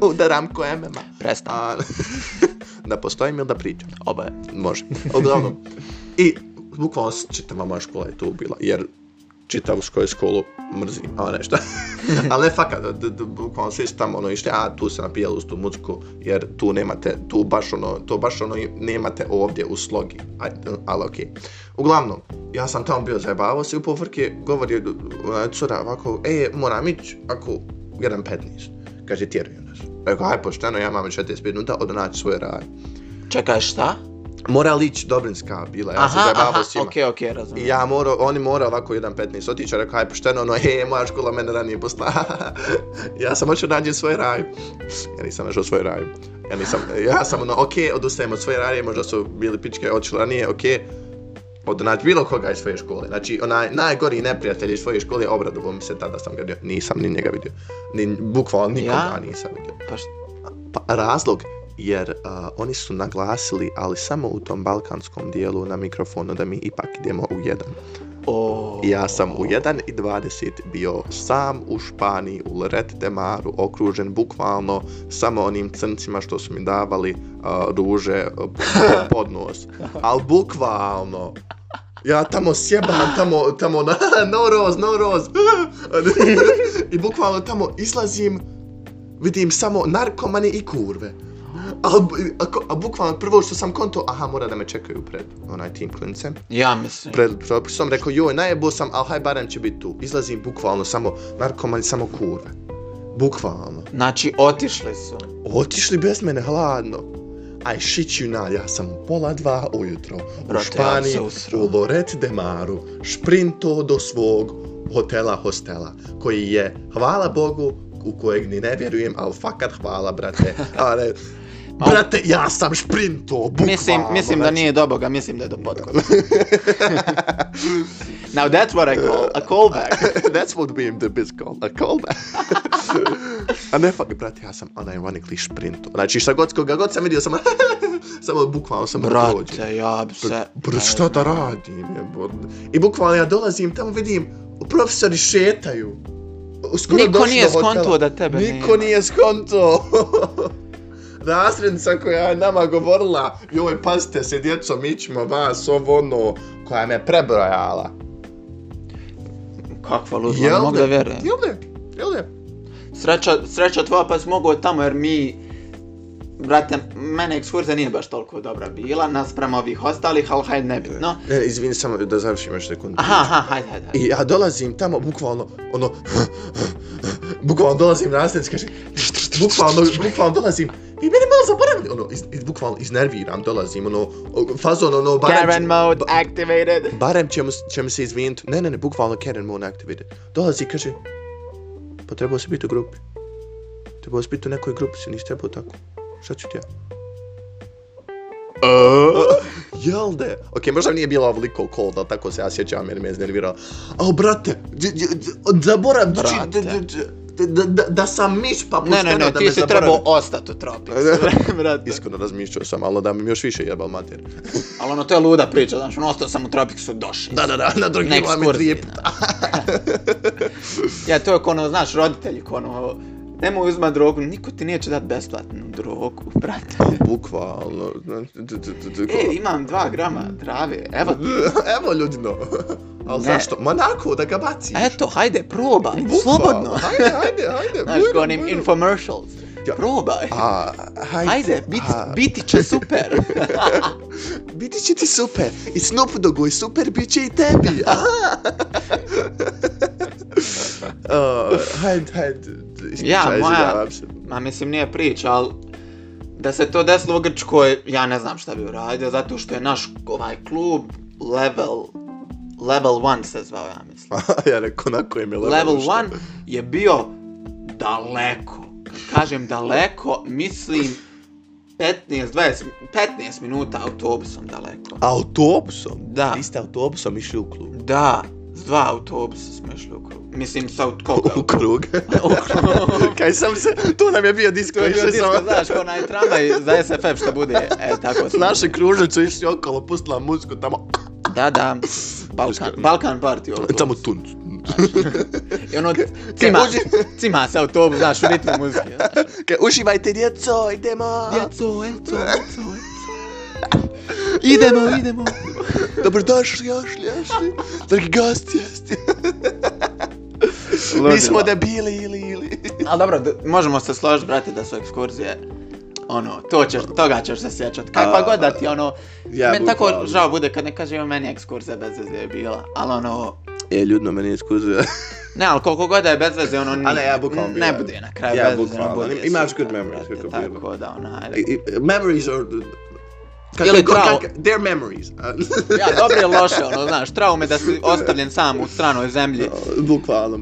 [SPEAKER 2] Udaram ko MMA.
[SPEAKER 1] Prestan.
[SPEAKER 2] A, da postojim ili da pričam?
[SPEAKER 1] Oba je.
[SPEAKER 2] Može. Uglavnom. I bukvalno s- čitava moja škola je tu bila, jer čitavu školu, školu mrzim, ali nešto. ali ne fakat, d- d- bukvalno svi su tamo ono išli, a tu se napijali uz tu mucku, jer tu nemate, tu baš ono, to baš ono i- nemate ovdje u slogi, a, ali okej. Uglavnom, ja sam tamo bio zajebavao se, i u povrke govori ona cura ovako, e, moram ići, ako, 1.15, kaže, tjeruju nas. Rekao, aj pošteno, ja imam 45 minuta, odo naći svoj raj.
[SPEAKER 1] Čekaj, šta?
[SPEAKER 2] Mora lić Dobrinska bila, ja sam
[SPEAKER 1] aha, aha,
[SPEAKER 2] zajebavao s njima.
[SPEAKER 1] okej, okej,
[SPEAKER 2] I
[SPEAKER 1] razumijem.
[SPEAKER 2] ja morao, oni morao ovako 1.15 otići, rekao, aj pošteno, ono, he, moja škola mene ranije posla. ja sam hoću nađem svoj raj. Ja nisam našao svoj raj. Ja nisam, ja sam ono, okej, odustajem od svoje raje, možda su bili pičke otišli ranije, okej. Od naći bilo koga iz svoje škole. Znači, onaj najgori neprijatelj iz svoje škole, obradovo mi se tada sam ga vidio. Nisam ni njega vidio. Ni, bukvalno nikoga
[SPEAKER 1] Ja?
[SPEAKER 2] nisam vidio.
[SPEAKER 1] Pa šta?
[SPEAKER 2] Pa, razlog, jer uh, oni su naglasili, ali samo u tom balkanskom dijelu na mikrofonu da mi ipak idemo u jedan.
[SPEAKER 1] O,
[SPEAKER 2] I Ja sam u 1.20 bio sam u Španiji, u Lorette de Maru, okružen bukvalno samo onim crncima što su mi davali uh, ruže uh, po- pod nos. Al bukvalno, ja tamo sjebam, tamo, tamo, na, no roz, no roz. I bukvalno tamo izlazim, vidim samo narkomane i kurve. Al, bu- a, ko- a bukvalno prvo što sam konto, aha, mora da me čekaju pred onaj tim klincem
[SPEAKER 1] Ja mislim.
[SPEAKER 2] pred propisom, rekao joj najebo sam, ali haj barem će biti tu. Izlazim bukvalno samo narkoman i samo kurve. Bukvalno.
[SPEAKER 1] Znači, otišli su.
[SPEAKER 2] Otišli bez mene hladno. Aj shit you not, ja sam u pola dva ujutro u
[SPEAKER 1] Brate, ja
[SPEAKER 2] Španiji,
[SPEAKER 1] se usrao.
[SPEAKER 2] u Loret de Maru, šprinto do svog hotela hostela, koji je, hvala Bogu, u kojeg ni ne vjerujem, ali fakat hvala, brate. Ale,
[SPEAKER 1] Ma-
[SPEAKER 2] brate, ja sam šprinto, bukvalno.
[SPEAKER 1] Pa Mislim, mislim da
[SPEAKER 2] znači,
[SPEAKER 1] nije do Boga, mislim da je do potkova. Now that's what I call a callback.
[SPEAKER 2] That's what being the biz called a callback. a ne fuck, brate, ja sam unironically šprinto. Znači šta god, koga god sam vidio, sam samo bukvalno sam prođen.
[SPEAKER 1] Brate, ja bi se...
[SPEAKER 2] Br, šta da radim, jebod. I bukvalno ja dolazim, tamo vidim, profesori šetaju. Skoro
[SPEAKER 1] Niko
[SPEAKER 2] došli
[SPEAKER 1] nije
[SPEAKER 2] do hotela.
[SPEAKER 1] skontuo da tebe
[SPEAKER 2] Niko
[SPEAKER 1] nema.
[SPEAKER 2] nije skonto. Razrednica koja je nama govorila, joj, pazite se, djeco, mi ćemo vas, ovo, ono, koja me prebrojala.
[SPEAKER 1] Kakva ludla, ne mogu da vjerujem.
[SPEAKER 2] Jel ne? Jel ne?
[SPEAKER 1] Sreća, sreća tvoja pa si mogao tamo jer mi Brate, mene ekskurzija nije baš toliko dobra bila, naspram ovih ostalih, ali hajde nebitno.
[SPEAKER 2] Ne, izvini samo da završim još sekundu.
[SPEAKER 1] Aha, aha, hajde, hajde. hajde.
[SPEAKER 2] E. I ja dolazim tamo, bukvalno, ono, bukvalno dolazim na nastavnicu, kaže, bukvalno, bukvalno dolazim, i mene malo zaboravili, ono, iz, iz, bukvalno iznerviram, dolazim, ono, o, fazon, ono,
[SPEAKER 1] Karen
[SPEAKER 2] barem,
[SPEAKER 1] mode activated.
[SPEAKER 2] barem ćemo, ćemo se izviniti, ne, ne, ne, bukvalno Karen Moon activated. Dolazi i kaže, pa trebao si biti u grupi. Trebao si biti u nekoj grupi, si nisi trebao tako. Šta ću ti ja? Jel de? Okej, možda nije bila ovoliko cold, ali tako se ja sjećam jer me je znervirao. Al brate, d- d- d- zaborav, znači, d- d- d- d- da, da, da sam miš pa
[SPEAKER 1] Ne, ne,
[SPEAKER 2] pušteno
[SPEAKER 1] ne,
[SPEAKER 2] da
[SPEAKER 1] ti
[SPEAKER 2] me
[SPEAKER 1] si
[SPEAKER 2] zaboravi.
[SPEAKER 1] trebao ostati u tropicu, brate.
[SPEAKER 2] Iskreno razmišljao sam, ali da mi još više jebal mater.
[SPEAKER 1] Ali ono, to je luda priča, znaš, ono, ostao sam u tropiksu do šest.
[SPEAKER 2] Da, da, da, na drugi
[SPEAKER 1] Na
[SPEAKER 2] vam je
[SPEAKER 1] ekskurziji,
[SPEAKER 2] trip.
[SPEAKER 1] Ja, to je ko ono, znaš, roditelji, ko ono, nemoj uzma drogu, niko ti neće dat besplatnu drogu, brate.
[SPEAKER 2] Bukvalno. znači, d- d- d- d-
[SPEAKER 1] E, imam dva grama trave, evo,
[SPEAKER 2] Evo ljudino. Ali
[SPEAKER 1] Ne.
[SPEAKER 2] zašto? Monako, da ga baciš.
[SPEAKER 1] eto, hajde, probaj,
[SPEAKER 2] Bukvalno.
[SPEAKER 1] slobodno.
[SPEAKER 2] Hajde, hajde, hajde.
[SPEAKER 1] Znaš,
[SPEAKER 2] bujno,
[SPEAKER 1] ko onim
[SPEAKER 2] bujno.
[SPEAKER 1] infomercials,
[SPEAKER 2] Ja.
[SPEAKER 1] probaj.
[SPEAKER 2] A, hajde,
[SPEAKER 1] Ajde, bit,
[SPEAKER 2] a-
[SPEAKER 1] biti će super.
[SPEAKER 2] Biti će ti super. I Snoop Dogu i super bit će i tebi. Aha. uh, hajde, hajde. ispričaj,
[SPEAKER 1] Ja, moja-
[SPEAKER 2] izvinjavam se. ja
[SPEAKER 1] Ma mislim nije priča, ali da se to desilo u Grčkoj, ja ne znam šta bi uradio, zato što je naš ovaj klub Level, Level 1 se zvao, ja mislim.
[SPEAKER 2] ja rekao, na kojem je levelu
[SPEAKER 1] Level
[SPEAKER 2] što?
[SPEAKER 1] 1 je bio daleko. Kad kažem daleko, mislim 15, 20, 15 minuta autobusom daleko.
[SPEAKER 2] Autobusom?
[SPEAKER 1] Da.
[SPEAKER 2] Vi ste autobusom išli u klub.
[SPEAKER 1] Da, s dva autobusa smo išli u krug. Mislim, sa od koga?
[SPEAKER 2] U krug.
[SPEAKER 1] U krug.
[SPEAKER 2] Kaj sam se, to nam je bio disko.
[SPEAKER 1] To je bio
[SPEAKER 2] išli
[SPEAKER 1] disco,
[SPEAKER 2] smo-
[SPEAKER 1] znaš, kao onaj tramvaj za SFF što bude. E, tako smo.
[SPEAKER 2] Naše kružnicu išli okolo, pustila muziku tamo.
[SPEAKER 1] Da, da. Balkan, Balkan party ovo.
[SPEAKER 2] Tamo tunc.
[SPEAKER 1] I ono, cima,
[SPEAKER 2] uđe-
[SPEAKER 1] cima se autobus, znaš, u ritmu muzike. znaš.
[SPEAKER 2] Kaj, uživajte djeco, idemo.
[SPEAKER 1] Djeco, eco, eco, eco. Idemo, idemo.
[SPEAKER 2] Dobrodošli, jašli, jašli. Dragi gosti, jesti. Mi smo debili ili ili.
[SPEAKER 1] Ali dobro, d- možemo se složiti, brate, da su ekskurzije ono, to ćeš, toga ćeš se sjećat. Kakva
[SPEAKER 2] A,
[SPEAKER 1] god da ti, ono,
[SPEAKER 2] ja
[SPEAKER 1] meni tako
[SPEAKER 2] bukvalno.
[SPEAKER 1] žao bude kad ne kaže "Jo, meni ekskurzija bez veze je bila, ali ono,
[SPEAKER 2] E, ljudno, meni je skuzio.
[SPEAKER 1] ne, ali koliko god da je bez veze, ono,
[SPEAKER 2] A ne, ja bukvalno
[SPEAKER 1] ne,
[SPEAKER 2] bila.
[SPEAKER 1] bude na kraju
[SPEAKER 2] Ja
[SPEAKER 1] bez veze,
[SPEAKER 2] bukvalno.
[SPEAKER 1] ono, bude
[SPEAKER 2] Imaš
[SPEAKER 1] super,
[SPEAKER 2] good memories,
[SPEAKER 1] brate,
[SPEAKER 2] kako bilo.
[SPEAKER 1] Tako da, ono, ona,
[SPEAKER 2] Memories are... Kako,
[SPEAKER 1] Ili
[SPEAKER 2] kako-
[SPEAKER 1] trau-
[SPEAKER 2] kako- They're memories. A-
[SPEAKER 1] ja, dobro je loše, ono, znaš, traume da si ostavljen sam u stranoj zemlji,
[SPEAKER 2] Bukvalno.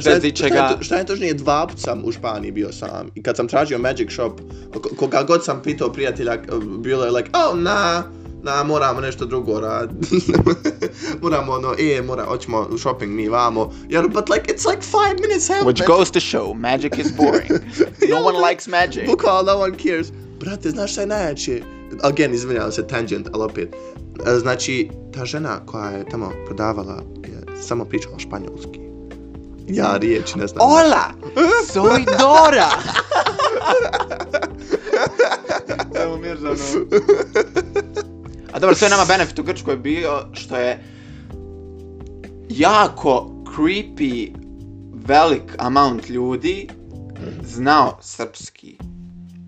[SPEAKER 2] Šta je,
[SPEAKER 1] ičega.
[SPEAKER 2] šta je to- šta je točnije, dva put sam u Španiji bio sam i kad sam tražio Magic Shop, ko- koga god sam pitao prijatelja, k- bilo je like, oh, na, na, moramo nešto drugo raditi. moramo ono, e, mora, hoćemo u shopping mi vamo. Jer, but like, it's like five minutes help.
[SPEAKER 1] which
[SPEAKER 2] man.
[SPEAKER 1] goes to show, magic is boring, no one likes magic.
[SPEAKER 2] Bukvalno, no one cares. Brate, znaš šta je najjače? Again, izvinjavam se, tangent, ali opet. E, Znači, ta žena koja je tamo prodavala je samo pričala španjolski.
[SPEAKER 1] Mm.
[SPEAKER 2] Ja riječi ne znam.
[SPEAKER 1] Hola, soy Dora. Evo Mirzano. A dobro, to je nama benefit u Grčkoj bio što je jako creepy velik amount ljudi znao srpski.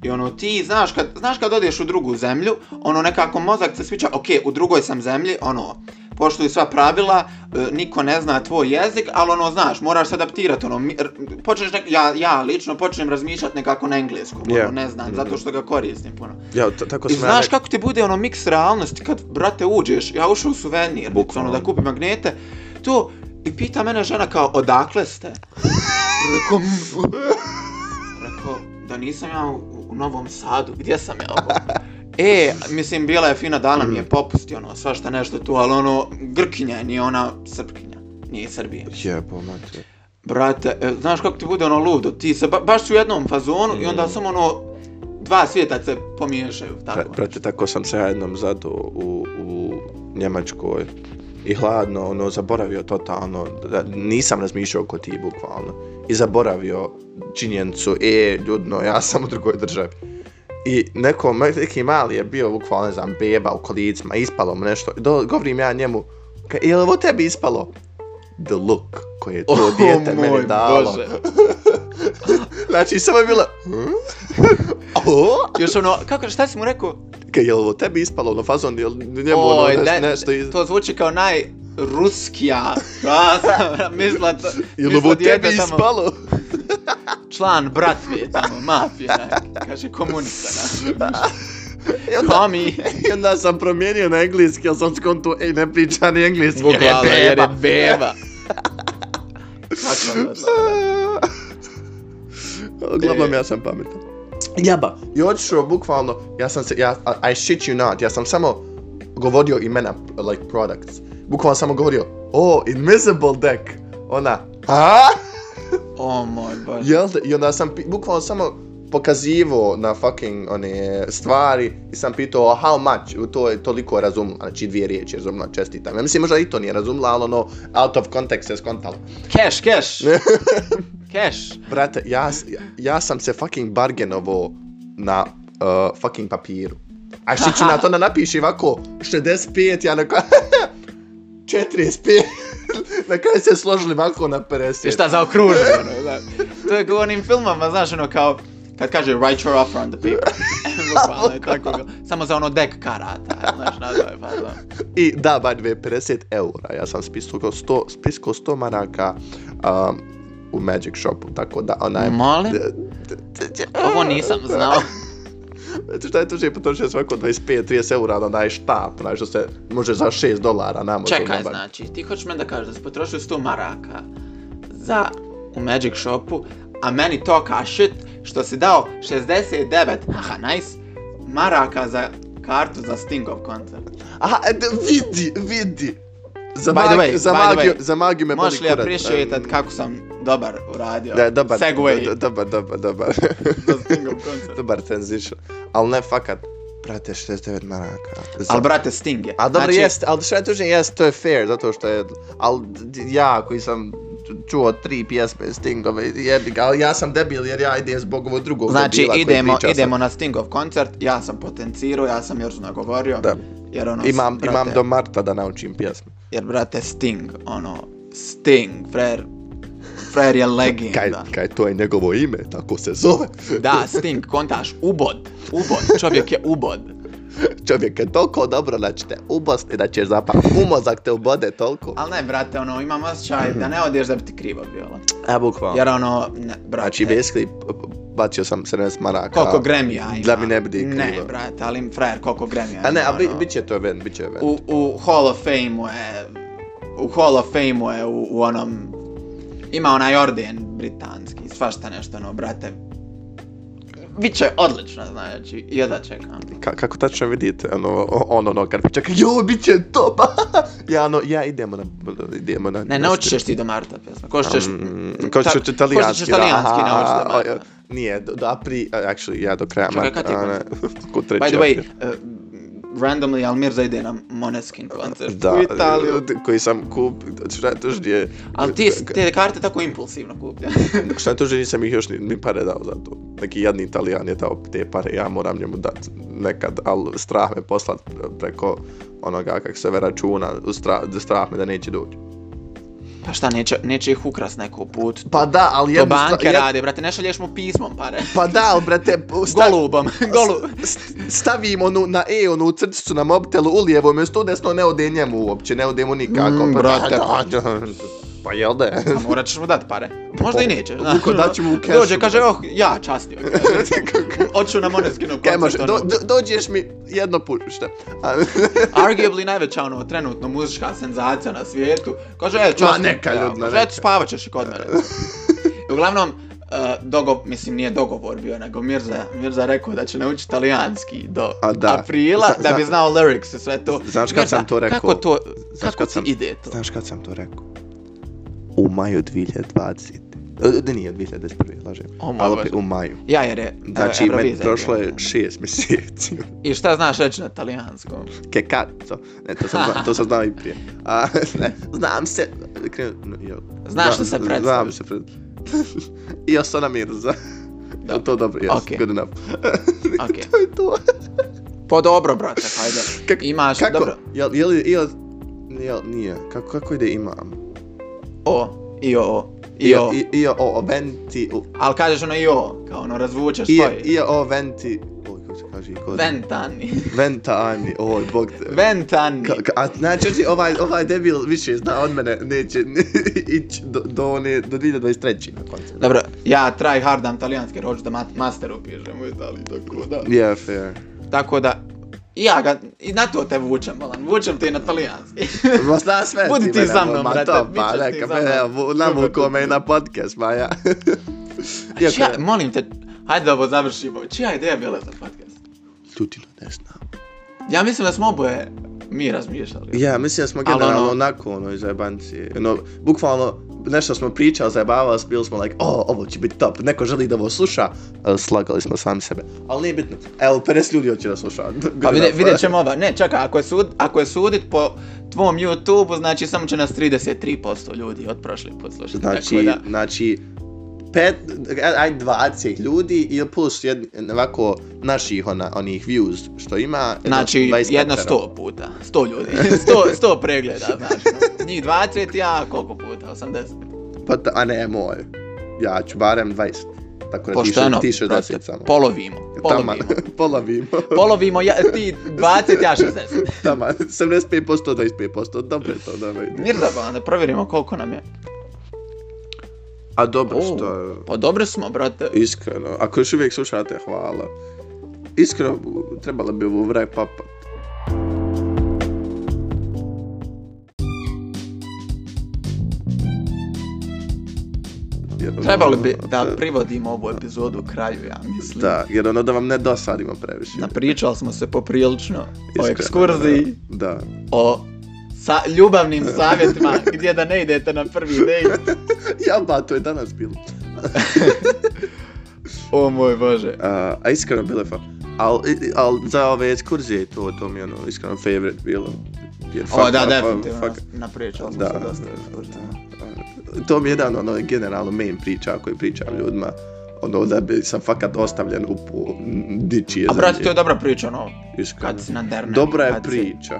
[SPEAKER 1] I ono, ti znaš kad, znaš kad odeš u drugu zemlju, ono nekako mozak se sviđa, ok, u drugoj sam zemlji, ono, poštuju sva pravila, e, niko ne zna tvoj jezik, ali ono, znaš, moraš se adaptirati, ono, mi- r- počneš nek, ja, ja lično počnem razmišljati nekako na engleskom,
[SPEAKER 2] Yeah.
[SPEAKER 1] ono, ne znam, zato što ga koristim puno.
[SPEAKER 2] Ja, t- tako
[SPEAKER 1] I
[SPEAKER 2] sam ja
[SPEAKER 1] znaš
[SPEAKER 2] nek-
[SPEAKER 1] kako ti bude ono miks realnosti kad, brate, uđeš, ja ušao u suvenir,
[SPEAKER 2] Bukvalno.
[SPEAKER 1] ono, da kupim magnete, to, i pita mene žena kao, odakle ste? Rekao, "M, rekao, da nisam ja u, u Novom Sadu, gdje sam ja ovo? E, mislim, bila je fina dana, mi je
[SPEAKER 2] Mm.
[SPEAKER 1] popusti, ono, svašta nešto tu, ali ono, Grkinja je, nije ona Srpkinja, nije iz Srbije.
[SPEAKER 2] Jebo, mate.
[SPEAKER 1] Brate, e, znaš kako ti bude ono ludo, ti se ba, baš si u jednom fazonu i
[SPEAKER 2] Mm.
[SPEAKER 1] onda samo ono, dva svijeta se pomiješaju, tako.
[SPEAKER 2] Pra, prate, tako sam se ja jednom zado u, u Njemačkoj i hladno, ono, zaboravio totalno, da, nisam razmišljao ko ti, bukvalno. I zaboravio činjenicu, e, ljudno, ja sam u drugoj državi. I neko, neki mali je bio, bukvalno, ne znam, beba u kolicima, ispalo mu nešto. I do, govorim ja njemu, ka, je li ovo tebi ispalo? The look koje je to
[SPEAKER 1] O,
[SPEAKER 2] dijete
[SPEAKER 1] moj
[SPEAKER 2] meni dalo.
[SPEAKER 1] Bože.
[SPEAKER 2] Znači, samo je bila... "Hmm?" O,
[SPEAKER 1] Još ono, kako, šta si mu rekao?
[SPEAKER 2] Kaj, jel ovo tebi ispalo ono fazon, jel njemu
[SPEAKER 1] Oj,
[SPEAKER 2] ono
[SPEAKER 1] ne-
[SPEAKER 2] ne, nešto iz...
[SPEAKER 1] To zvuči kao naj... Ruskija. A, sam mislila to...
[SPEAKER 2] Jel
[SPEAKER 1] mislila
[SPEAKER 2] ovo
[SPEAKER 1] dijete
[SPEAKER 2] tebi
[SPEAKER 1] tamo,
[SPEAKER 2] ispalo?
[SPEAKER 1] Član bratve, tamo, mafije, ne, kaže komunista, ne.
[SPEAKER 2] I onda,
[SPEAKER 1] Tomi.
[SPEAKER 2] I onda sam promijenio na engleski, ali sam skonto, ej, ne priča ni engleski.
[SPEAKER 1] Bukvalno,
[SPEAKER 2] Jer je
[SPEAKER 1] jer je
[SPEAKER 2] beba.
[SPEAKER 1] beba. Tačno, da.
[SPEAKER 2] Uglavnom, ja sam pametan. Jaba, i otišao bukvalno, ja sam se, ja, I shit you not, ja sam samo govorio imena, like, products. Bukvalno samo govorio, o, oh, invisible deck, ona, aaa?
[SPEAKER 1] O moj bože.
[SPEAKER 2] Jel da? I onda sam pi- bukvalno samo pokazivo na fucking one stvari i sam pitao how much, to je toliko razumla, znači dvije riječi je razumla, čestitam. Ja mislim možda i to nije razumla, ali ono out of context je skontala.
[SPEAKER 1] Cash, cash. Cash.
[SPEAKER 2] Brate, ja, s- ja, ja sam se fucking bargenovo na uh, fucking papiru. A što ću na to da napiši ovako 65, ja na kraju 45, na kraju se složili ovako na 50.
[SPEAKER 1] I šta zaokruženo, ono, da. To je kao u onim filmama, znaš, ono kao, kad kaže write your offer on the paper. Bukvalno je tako bilo. Samo za ono dek karata, znaš, na to je fazon.
[SPEAKER 2] I da, by the way, 50 eura. Ja sam spiskao 100, spiskao 100 maraka um, u Magic Shopu, tako da onaj...
[SPEAKER 1] Molim? Ovo nisam znao.
[SPEAKER 2] Znate šta je tuže, potrošio sam oko 25-30 eura na onaj štap, onaj što se može za 6 dolara namo.
[SPEAKER 1] Čekaj, znači, ti hoćeš meni da kažeš da si potrošio 100 maraka za u Magic Shopu, a meni to kašit što si dao 69, aha, nice, maraka za kartu za Stingov koncert.
[SPEAKER 2] Aha, e, da, vidi, vidi. Za,
[SPEAKER 1] By the
[SPEAKER 2] mag,
[SPEAKER 1] way,
[SPEAKER 2] za,
[SPEAKER 1] by the
[SPEAKER 2] magiju,
[SPEAKER 1] way,
[SPEAKER 2] za magiju me boli
[SPEAKER 1] Možeš
[SPEAKER 2] kurac.
[SPEAKER 1] li ja appreciate
[SPEAKER 2] Em,
[SPEAKER 1] kako sam dobar uradio?
[SPEAKER 2] Da, dobar,
[SPEAKER 1] Segway
[SPEAKER 2] do- dobar, dobar, dobar.
[SPEAKER 1] za Stingov koncert.
[SPEAKER 2] dobar transition. Ali ne, fakat, brate, 69 maraka. Za-
[SPEAKER 1] Ali brate, Sting je.
[SPEAKER 2] A dobro znači... jest, ali što je tužnije jest, to je fair, zato što je, ali d- ja koji sam čuo tri pjesme Stingove, jebi ga, ali ja sam debil jer ja idem zbog ovo drugog
[SPEAKER 1] Znači,
[SPEAKER 2] debila koji
[SPEAKER 1] idemo,
[SPEAKER 2] priča
[SPEAKER 1] idemo na Stingov koncert, ja sam potencirao, ja sam još nagovorio.
[SPEAKER 2] Da.
[SPEAKER 1] Jer ono,
[SPEAKER 2] Sam, imam,
[SPEAKER 1] brate,
[SPEAKER 2] imam do marta da naučim pjesmu.
[SPEAKER 1] Jer, brate, Sting, ono, Sting, frajer, frajer je legenda.
[SPEAKER 2] Kaj, kaj to je njegovo ime, tako se zove.
[SPEAKER 1] Da, Sting, kontaš, ubod, ubod, čovjek je ubod.
[SPEAKER 2] Čovjek je toliko dobro da će te ubosni, da ćeš zapamati. U mozak te ubode toliko.
[SPEAKER 1] Ali ne, brate, ono, imam osjećaj da ne odeš da bi ti krivo bilo.
[SPEAKER 2] A, E, bukvalno.
[SPEAKER 1] Jer, ono, ne, brate,
[SPEAKER 2] Znači, basically, bacio sam 70 maraka.
[SPEAKER 1] koliko gremija ima.
[SPEAKER 2] Da mi ne bi krivo.
[SPEAKER 1] Ne, brate, ali frajer, koliko gremija
[SPEAKER 2] A ne,
[SPEAKER 1] ima,
[SPEAKER 2] a bi,
[SPEAKER 1] ono.
[SPEAKER 2] bit će to event, bit će event.
[SPEAKER 1] u, u Hall of Fame-u je, u Hall of Fame-u je u, u onom, ima onaj orden britanski, svašta nešto ono, brate, Biće odlično, znači, jedva čekam.
[SPEAKER 2] Ka kako tačno vidite, ono, ono, ono, kad priča, jo, bit će to, pa, ja, ono, ja, idemo na, idemo na...
[SPEAKER 1] Ne, naučit ćeš ti do Marta pjesma, ko što ćeš...
[SPEAKER 2] Mm, kao
[SPEAKER 1] ta-
[SPEAKER 2] što ćeš italijanski,
[SPEAKER 1] Ko što ćeš italijanski
[SPEAKER 2] aha,
[SPEAKER 1] naučit
[SPEAKER 2] o, o,
[SPEAKER 1] do Marta.
[SPEAKER 2] Nije, do, do apri, actually, ja do kraja
[SPEAKER 1] Čekaj, kad ti je
[SPEAKER 2] a, ne, ko treći
[SPEAKER 1] By the way,
[SPEAKER 2] april.
[SPEAKER 1] uh, randomly Almirza ide na Moneskin koncert
[SPEAKER 2] Da,
[SPEAKER 1] u Italiju.
[SPEAKER 2] koji sam kup, znači, šta je tužnije...
[SPEAKER 1] Ali ti s- te karte tako impulsivno kupio.
[SPEAKER 2] Šta je tužnije, nisam ih još ni, ni pare dao za to. Neki jadni italijan je dao te pare, ja moram njemu dat nekad, ali strah me poslat preko onoga kak se ve računa, strah, strah me da neće doći.
[SPEAKER 1] Pa šta, neće, neće ih ukras neko put.
[SPEAKER 2] Pa da, ali
[SPEAKER 1] To
[SPEAKER 2] jednu
[SPEAKER 1] banke
[SPEAKER 2] sta- jed-
[SPEAKER 1] rade, brate, ne šalješ mu pismom pare.
[SPEAKER 2] Pa da, ali brate, stav,
[SPEAKER 1] Golubom, golub.
[SPEAKER 2] st- stavim onu na E, onu crticu na mobitelu u lijevo mjesto, u desno ne ode njemu uopće, ne ode mu nikako.
[SPEAKER 1] Mm,
[SPEAKER 2] pa,
[SPEAKER 1] brate,
[SPEAKER 2] pa, pa jel da je?
[SPEAKER 1] A morat ćeš mu dat pare. Možda i neće. znaš.
[SPEAKER 2] Luko, dat ću mu u kešu.
[SPEAKER 1] Dođe, kaže, oh, ja častio. Oću na Moneskinov
[SPEAKER 2] Kaj
[SPEAKER 1] koncert.
[SPEAKER 2] može, do,
[SPEAKER 1] ono.
[SPEAKER 2] do, dođeš mi jedno pušta. A,
[SPEAKER 1] Arguably najveća ono trenutno muzička senzacija na svijetu. Kaže, e, častim.
[SPEAKER 2] neka
[SPEAKER 1] te,
[SPEAKER 2] ljudna,
[SPEAKER 1] Kaže, eto,
[SPEAKER 2] neka.
[SPEAKER 1] spavat ćeš i kod mene. I uglavnom, uh, dogo, mislim nije dogovor bio, nego Mirza, Mirza rekao da će naučiti talijanski do
[SPEAKER 2] A da.
[SPEAKER 1] aprila,
[SPEAKER 2] Zna-
[SPEAKER 1] da bi
[SPEAKER 2] zna-
[SPEAKER 1] znao lyrics i sve to.
[SPEAKER 2] Znaš kad sam to rekao?
[SPEAKER 1] Kako to,
[SPEAKER 2] Znaš
[SPEAKER 1] kako
[SPEAKER 2] kad
[SPEAKER 1] ti
[SPEAKER 2] sam-
[SPEAKER 1] ide to?
[SPEAKER 2] Znaš kad sam to rekao? U maju 2020. E, Da nije 2021. lažem.
[SPEAKER 1] O moj
[SPEAKER 2] Ali
[SPEAKER 1] Bože.
[SPEAKER 2] opet u maju.
[SPEAKER 1] Ja jer je e,
[SPEAKER 2] Znači, me
[SPEAKER 1] Eurovizija
[SPEAKER 2] prošlo je
[SPEAKER 1] bila.
[SPEAKER 2] šest mjeseci.
[SPEAKER 1] I šta znaš reći na talijanskom?
[SPEAKER 2] Kekarico. Ne, E, to sam, zna, to sam znao i prije. A, ne, znam se... Krenu, no, jo.
[SPEAKER 1] Znaš
[SPEAKER 2] Znam-
[SPEAKER 1] li se predstaviti?
[SPEAKER 2] Znam se pred... I Osana Mirza. Dobro. To dobro, jes,
[SPEAKER 1] Okej.
[SPEAKER 2] okay. good enough.
[SPEAKER 1] Okej.
[SPEAKER 2] to je to.
[SPEAKER 1] Po dobro, brate, hajde.
[SPEAKER 2] Kak-
[SPEAKER 1] Imaš,
[SPEAKER 2] kako?
[SPEAKER 1] dobro.
[SPEAKER 2] Jel, jel, jel, jel, nije, kako, kako ide imam?
[SPEAKER 1] O, i o, i
[SPEAKER 2] Io,
[SPEAKER 1] o.
[SPEAKER 2] i- io, o, venti,
[SPEAKER 1] Ali kažeš ono i o, kao ono razvučeš
[SPEAKER 2] io,
[SPEAKER 1] svoje.
[SPEAKER 2] io, o, venti, oj, kako se kaže, kod,
[SPEAKER 1] Ventani.
[SPEAKER 2] ventani, oj, bog te.
[SPEAKER 1] Ventani.
[SPEAKER 2] Ka, ka, a znači znači, ovaj, ovaj debil više zna od mene, neće ići do, do, one, do 2023. na koncu.
[SPEAKER 1] Dobro, ja try hardam talijanski jer hoću da mat, master upišem u Italiji, tako da.
[SPEAKER 2] Yeah, fair.
[SPEAKER 1] Tako da, i ja ga, i na to te vučem, Alan, vučem te na talijanski.
[SPEAKER 2] Ma šta sve
[SPEAKER 1] Budi ti
[SPEAKER 2] mene,
[SPEAKER 1] sa mnom,
[SPEAKER 2] ma
[SPEAKER 1] brate,
[SPEAKER 2] to,
[SPEAKER 1] bit
[SPEAKER 2] pa
[SPEAKER 1] ćeš ti
[SPEAKER 2] neka
[SPEAKER 1] sa
[SPEAKER 2] me,
[SPEAKER 1] mnom.
[SPEAKER 2] evo, navuko me i na podcast, ma ja. Iako,
[SPEAKER 1] Čija, Znači, molim te, hajde da ovo završimo, čija ideja je bila za podcast?
[SPEAKER 2] ljudilo ne znam.
[SPEAKER 1] Ja mislim da smo oboje mi razmišljali.
[SPEAKER 2] Ja, mislim da smo generalno
[SPEAKER 1] ono-
[SPEAKER 2] onako, ono, iz zajebanci. Ono, bukvalno, nešto smo pričali, zajebavali, se, bili smo like, o, ovo će biti top, neko želi da ovo sluša, ali slagali smo sami sebe. Ali nije bitno, evo, 50 ljudi hoće da sluša.
[SPEAKER 1] Pa vide, vidjet ćemo ova, ne čekaj, ako je, sud, ako je sudit po tvom YouTube-u, znači samo će nas 33% ljudi od prošli put slušati.
[SPEAKER 2] Znači,
[SPEAKER 1] tako da,
[SPEAKER 2] znači, pet, aj 20 ljudi ili plus jed, ovako naših ona, onih views što ima. jedno
[SPEAKER 1] znači
[SPEAKER 2] 25
[SPEAKER 1] jedno
[SPEAKER 2] petero.
[SPEAKER 1] 100 puta, 100 ljudi, 100, 100 pregleda, znači, njih 20, ja koliko puta, 80.
[SPEAKER 2] Pa, ta- a ne, moj. Ja ću barem 20. Tako da ti
[SPEAKER 1] Pošteno,
[SPEAKER 2] še- ti 60
[SPEAKER 1] ono, brate,
[SPEAKER 2] samo.
[SPEAKER 1] polovimo,
[SPEAKER 2] Taman,
[SPEAKER 1] polovimo.
[SPEAKER 2] polovimo.
[SPEAKER 1] Polovimo, ja, ti 20, ja 60.
[SPEAKER 2] Taman, 75%, 25%, dobro je to, dobro je.
[SPEAKER 1] Mirzaban, da provjerimo koliko nam je.
[SPEAKER 2] A dobro
[SPEAKER 1] O.
[SPEAKER 2] što je,
[SPEAKER 1] Pa dobro smo, brate.
[SPEAKER 2] iskreno, ako još uvijek slušate, hvala. Iskreno, trebalo bi ovu vrag papa. Jer ono-
[SPEAKER 1] Trebali bi da privodimo ovu epizodu kraju, ja mislim.
[SPEAKER 2] Da, jer ono da vam ne dosadimo previše.
[SPEAKER 1] Napričali smo se poprilično o
[SPEAKER 2] Iskreno,
[SPEAKER 1] ekskurziji,
[SPEAKER 2] Da.
[SPEAKER 1] o sa ljubavnim savjetima gdje da ne idete na prvi dejt.
[SPEAKER 2] Ja, ba, to je danas bilo.
[SPEAKER 1] O moj bože.
[SPEAKER 2] A, a iskreno bilo je fa... Al, i- al za ove ekskurzije i to, to mi je ono iskreno favorite bilo. Jer pa,
[SPEAKER 1] O da,
[SPEAKER 2] fa-
[SPEAKER 1] definitivno,
[SPEAKER 2] fak-
[SPEAKER 1] napričali smo
[SPEAKER 2] Da,
[SPEAKER 1] se
[SPEAKER 2] da,
[SPEAKER 1] dosta.
[SPEAKER 2] da. To mi je jedan ono generalno main priča koju pričam ljudima. Ono da bi sam fakat ostavljen u po, dičije
[SPEAKER 1] A brate, to
[SPEAKER 2] zemlje,
[SPEAKER 1] je dobra priča, ono,
[SPEAKER 2] iskreno.
[SPEAKER 1] kad si na dernem.
[SPEAKER 2] Dobra je
[SPEAKER 1] kad si-
[SPEAKER 2] priča.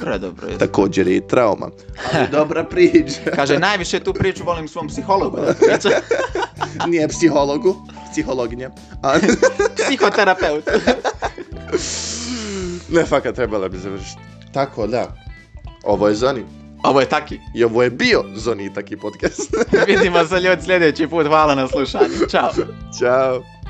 [SPEAKER 1] Predobro je.
[SPEAKER 2] Također je i trauma. Ali dobra priča.
[SPEAKER 1] Kaže, najviše tu priču volim svom psihologu da priča.
[SPEAKER 2] Nije psihologu, psihologinja. A,
[SPEAKER 1] Psihoterapeut.
[SPEAKER 2] ne, fakat trebala bi završiti. Tako da, ovo je Zoni.
[SPEAKER 1] Ovo je taki.
[SPEAKER 2] I ovo je bio Zoni taki podcast.
[SPEAKER 1] Vidimo se ljudi sljedeći put. Hvala na slušanju. Ćao.
[SPEAKER 2] Ćao.